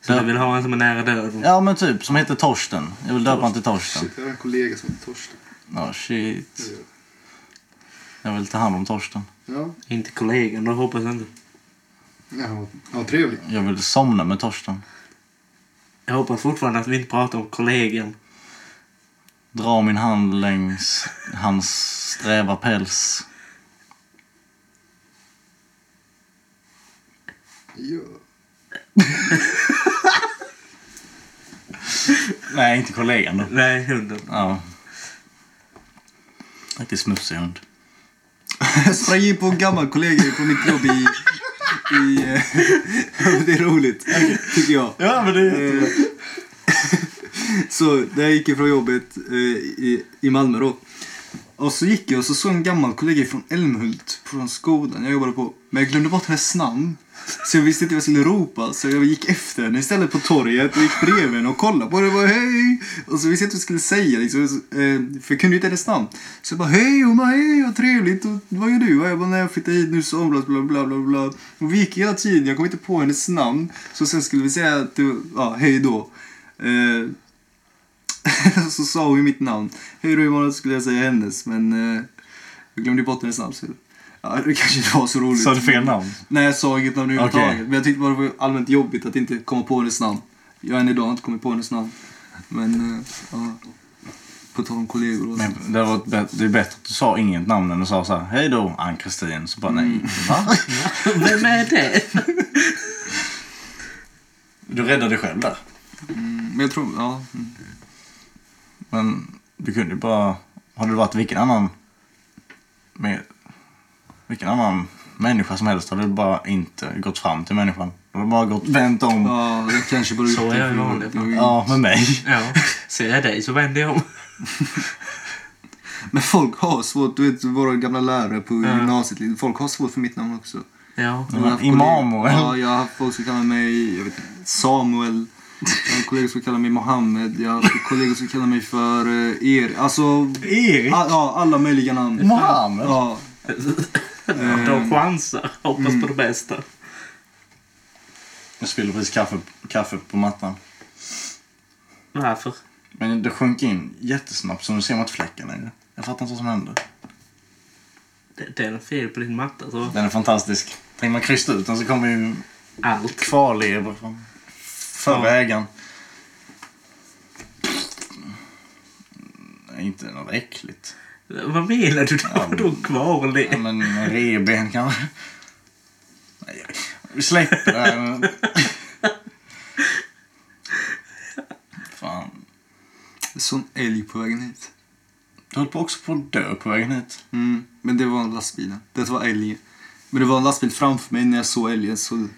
B: Så du vill ha en som är nära döden?
A: Ja men typ, som heter Torsten. Jag vill döpa honom till Torsten.
F: Shit, jag har en kollega som heter Torsten.
A: Ja, shit. Jag vill ta hand om Torsten.
F: Ja,
B: Inte kollegan, då hoppas jag inte.
F: ja han var- han var trevlig.
A: Jag vill somna med Torsten.
B: Jag hoppas fortfarande att vi inte pratar om kollegan.
A: Dra min hand längs hans sträva päls.
F: Ja.
A: Nej, inte kollegan då.
B: Nej, hunden.
A: Ja. Riktigt smutsig hund.
C: Jag sprang in på en gammal kollega på mitt jobb i... i eh, det är roligt, tycker jag.
A: Ja, men det
C: Eh, Så när jag gick ifrån jobbet eh, i, i Malmö då. Och så gick jag och så såg en gammal kollega från Älmhult från skolan jag jobbade på. Men jag glömde bort hennes namn. Så jag visste inte vad jag skulle ropa så jag gick efter henne istället på torget och gick bredvid henne och kollade på henne och bara hej. Och så visste jag inte vad jag skulle säga liksom. så, eh, För jag kunde ju inte hennes namn. Så jag bara hej hon bara hej vad trevligt och vad gör du? Och jag bara när jag flyttade hit nu så omlas bla bla bla bla. Och vi gick hela tiden, jag kom inte på hennes namn. Så sen skulle vi säga att det var- ja hej då. Eh, så sa hon ju mitt namn. Hur och imorgon skulle jag säga hennes, men eh, jag glömde ju bort hennes namn. Så, ja, det kanske inte var så roligt.
A: Sa du fel namn?
C: Nej, jag sa inget namn överhuvudtaget.
A: Okej.
C: Men jag tyckte bara det var allmänt jobbigt att inte komma på hennes namn. Jag har än idag inte kommit på hennes namn. Men, eh, ja. På tal om kollegor och
A: Men det, var, bet- det är bättre att du sa inget namn än att du sa så här. Hej då, Ann-Kristin. Så bara nej. Va?
B: Vem är det?
A: Du räddade dig själv där.
C: Men jag tror, ja. mm.
A: Men du kunde ju bara... Hade du varit vilken annan... Med, vilken annan människa som helst hade du bara inte gått fram till människan. Du hade bara gått vänt om. Ja,
C: Ja, jag kanske bara...
B: Så är jag i vanliga fall.
A: med mig.
B: Ja, ser jag dig så vänder jag om.
C: Men folk har svårt, du vet våra gamla lärare på gymnasiet. Folk har svårt för mitt namn också.
B: Ja.
C: Jag har haft
A: Imam
C: kollegor-
A: och-
C: Ja, jag har haft folk som kallar mig jag vet, inte, Samuel. Jag har kollegor som kallar mig Mohammed. Jag har haft kollegor som kallar mig för eh, er. Alltså,
A: Erik?
C: a- ja, alla möjliga namn.
A: Mohammed?
C: Ja,
B: De chansar. Hoppas på det bästa.
A: Jag spillde precis kaffe, kaffe på mattan.
B: Varför?
A: Men det sjönk in jättesnabbt så nu ser man inte fläcken längre. Jag fattar inte vad som hände.
B: Det, det är något fel på din matta. Så.
A: Den är fantastisk. Tänk man krysta ut den så kommer ju
B: Allt.
A: kvarlevor från förra ägaren. Nej, Inte något äckligt.
B: Vad menar du? Det var då kvar
A: Ja,
B: det.
A: men en revben kanske. Nej, vi släpper det här. Fan.
C: sån älg på vägen hit.
A: Du höll på också på att dö på vägen hit.
C: Mm, men det var en lastbil. Det var älg. Men det var en lastbil framför mig när jag såg älgen. Så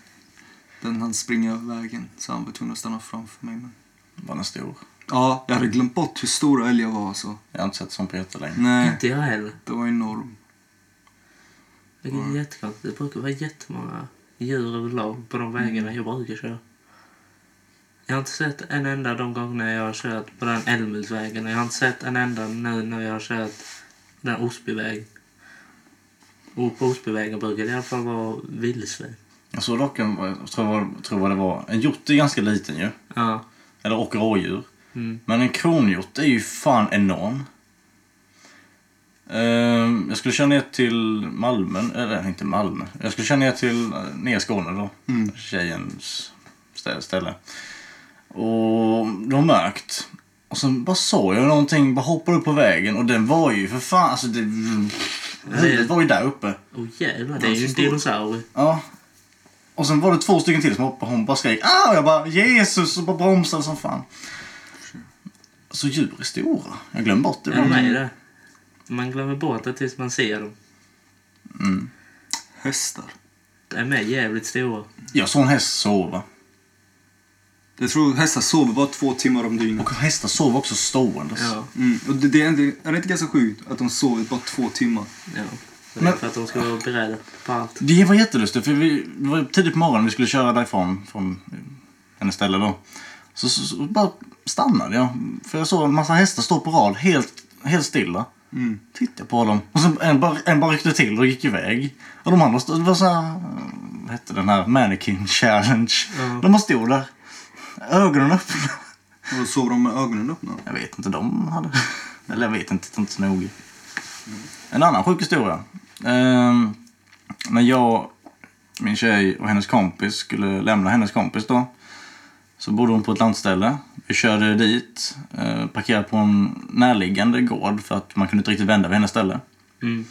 C: den hann springa över vägen. Så han var tvungen att stanna framför mig. Men...
A: Var den stor?
C: Ja, jag hade glömt bort hur stora älgar var alltså.
A: Jag har inte sett sån på jättelänge.
C: Nej,
B: Inte jag heller.
C: det var enorm.
B: Vilket är jättekonstigt. Det brukar vara jättemånga djur överlag på de vägarna jag brukar köra. Jag har inte sett en enda de gångerna jag har kört på den Älmhultsvägen. och Jag har inte sett en enda nu när jag har kört den Osbyvägen. Och på Osbyvägen brukar det i alla fall vara vildsvin.
A: Jag såg dock en, jag tror, jag tror vad det var, en hjort är ganska liten ju.
B: Ja.
A: Eller och rådjur.
B: Mm.
A: Men en kronhjort är ju fan enorm. Ehm, jag skulle köra ner till Malmö, eller inte Malmö. Jag skulle köra ner till eh, ner i Skåne då. Tjejens stä- ställe. Och det var mörkt. Och sen bara såg jag någonting, bara hoppade upp på vägen och den var ju för fan, alltså det... Huvudet var ju där uppe.
B: Åh jävlar, det är ju en
A: stor.
B: dinosaurie.
A: Ja. Och sen var det två stycken till som hoppade. Hon bara skrek ah! och jag bara Jesus och bara bromsade som fan. Så djur är stora. Jag glömmer bort det.
B: Ja, de är det. Man glömmer bort det tills man ser dem.
C: Hästar.
B: De är jävligt stora.
A: Jag såg en häst sova.
C: Jag tror hästar sover bara två timmar om dygnet.
A: Och hästar sover också ståendes.
B: Ja.
C: Mm. Och det, det är, inte, är det inte ganska sjukt att de sover bara två timmar?
B: ja. Det är
A: Men-
B: för att de ska vara beredda på allt.
A: Det var jättelustigt för vi, det var tidigt på morgonen vi skulle köra därifrån från hennes ställe då. Så, så, så bara stannade jag. För jag såg en massa hästar stå på rad helt, helt stilla.
C: Mm.
A: Tittade på dem. Och så en, bara, en bara ryckte till och gick iväg. Och de andra stod... Det var så här... eh, Vad hette den här? Mannequin challenge.
B: Ja.
A: De bara stod där. Ögonen öppna.
C: Och då sover de med ögonen öppna.
A: Jag vet inte, de hade... Eller jag vet inte, det är inte så noga. En annan sjuk historia. Ehm, när jag, min tjej och hennes kompis skulle lämna hennes kompis då. Så bodde hon på ett landställe. Vi körde dit, eh, parkerade på en närliggande gård för att man kunde inte riktigt vända vid hennes ställe.
B: Mm.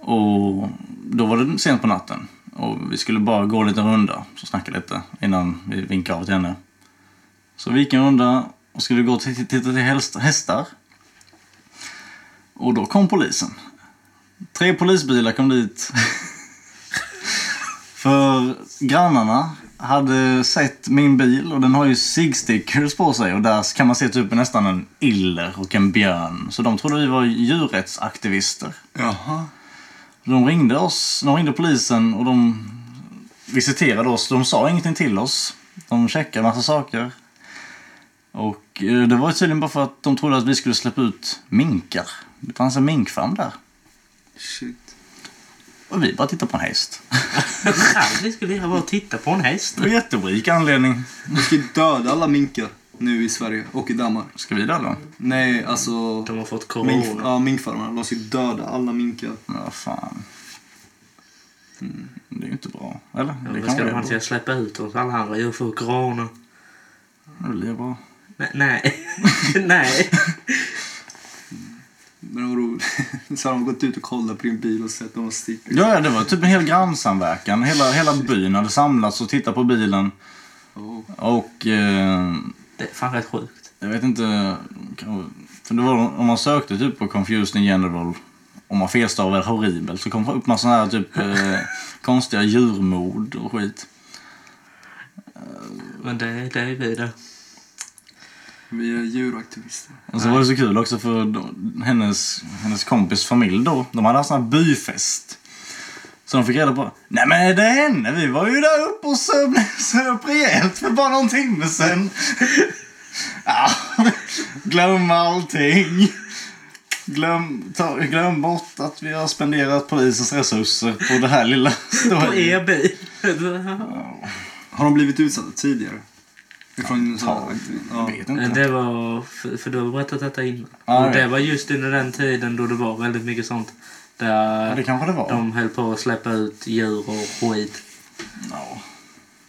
A: Och då var det sent på natten. Och vi skulle bara gå en liten runda och snacka lite innan vi vinkade av till henne. Så vi gick en runda och skulle gå och titta titta till häst- hästar. Och då kom polisen. Tre polisbilar kom dit. För grannarna hade sett min bil och den har ju SIG-stickers på sig och där kan man se typ nästan en iller och en björn. Så de trodde vi var djurrättsaktivister.
C: Jaha.
A: De ringde oss, de ringde polisen och de visiterade oss. De sa ingenting till oss. De checkade massa saker. Och eh, det var tydligen bara för att de trodde att vi skulle släppa ut minkar. Det fanns en minkfarm där.
C: Shit.
A: Och vi bara tittade på en häst.
B: Aldrig skulle jag bara titta på en häst.
A: Det var jätterik anledning.
C: Vi ska döda alla minkar nu i Sverige och i Danmark.
A: Ska vi där då?
C: Nej, alltså...
B: De har fått
C: Mink,
B: corona.
C: ja, minkfarmarna. De ska döda alla minkar.
A: Men vad fan. Mm, Det är ju inte bra. Eller?
B: Ja,
A: det
B: vad
A: kan
B: ska
A: vara
B: de
A: bra.
B: annars släppa ut oss alla andra djur för corona?
A: Det blir bra.
B: Nej. Nej. Nej.
C: Men vadå? Så har de gått ut och kollat på din bil och sett att de har stickor.
A: Ja, ja, det var typ en hel grannsamverkan. Hela, hela byn hade samlats och tittat på bilen.
C: Och
A: Och... Eh,
B: Det är fan rätt sjukt.
A: Jag vet inte. kan- För det var om man sökte typ på Confused in general. Om man felstavade horribel så kom det upp massa här typ eh, konstiga djurmord och skit.
B: Men det, det är vi det.
C: vi är djuraktivister.
A: Och så var det så kul också för de- hennes, hennes kompis familj då. De hade haft sån här byfest. Så de fick reda på. Nej men är det henne? Vi var ju där uppe och söp, söp rejält för bara någon timme sedan. Ja, glöm allting. Glöm, ta, glöm bort att vi har spenderat polisens resurser på det här lilla
B: På E
A: stället.
B: er bil.
C: Har de blivit utsatta tidigare? Ifrån ja,
A: Jag
C: ja.
A: vet inte.
B: Det var, för, för du har berättat detta innan.
A: Ja,
B: och
A: ja.
B: det var just under den tiden då det var väldigt mycket sånt. Där
A: Ja, det kanske det var.
B: de höll på att släppa ut djur och skit.
A: Ja.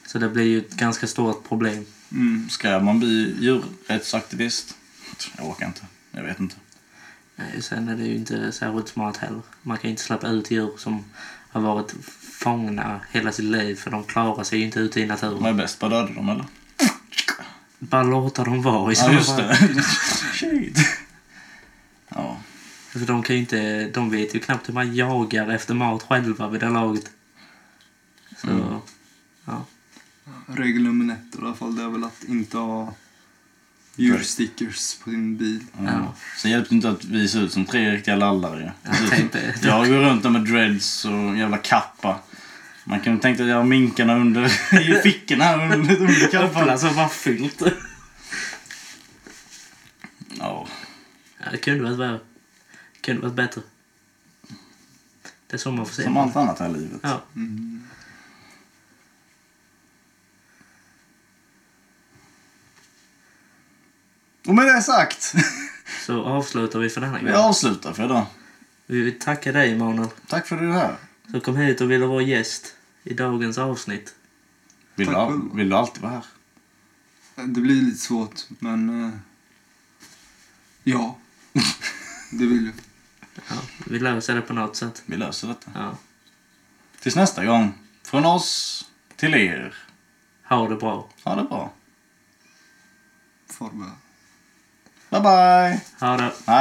B: Så det blir ju ett ganska stort problem.
C: Mm.
A: Ska man bli djurrättsaktivist? Jag orkar inte. Jag vet inte.
B: Nej, Eh, Sen är det ju inte särskilt smart heller. Man kan ju inte släppa ut djur som har varit fångna hela sitt liv för de klarar sig ju inte ute i naturen.
A: Vad är bäst? Bara döda dem eller?
B: Bara låta dem vara i
A: Ja,
B: så
A: just
B: fall.
A: det. Shit. Ja,
B: För de kan ju inte... De vet ju knappt hur man jagar efter mat själva vid det laget. Så...
A: Mm.
B: Ja.
C: Regel nummer ett i alla fall det är väl att inte ha djurstickers på din bil.
A: ja. Sen hjälpte inte att vi ser ut som tre riktiga lallare. ju.
B: Jag tänkte...
A: Jag går runt där med dreads och en jävla kappa. Man kan ju tänka att jag har minkarna under i fickorna här under, under kappan.
B: Öppna som var fyllt.
A: Ja,
B: Ja, det kunde varit värre. Det kunde varit bättre. Det är så man får se.
A: som allt annat här i livet.
B: Ja.
A: Och med det sagt,
B: Så avslutar vi för denna
A: vi
B: gången.
A: avslutar för idag.
B: Vi vill tacka dig, Emanuel,
A: Tack för att du är här.
B: som kom hit och ville vara gäst i dagens avsnitt.
A: Vill,
C: Tack
A: du,
C: själv.
A: vill du alltid vara här?
C: Det blir lite svårt, men... eh, Ja. det vill jag.
B: Ja, vi löser det på något sätt.
A: Vi löser detta.
B: Ja.
A: Tills nästa gång, från oss till er.
B: Ha det bra.
A: Ha det bra.
C: Farväl.
A: Bye bye!
B: Ha det.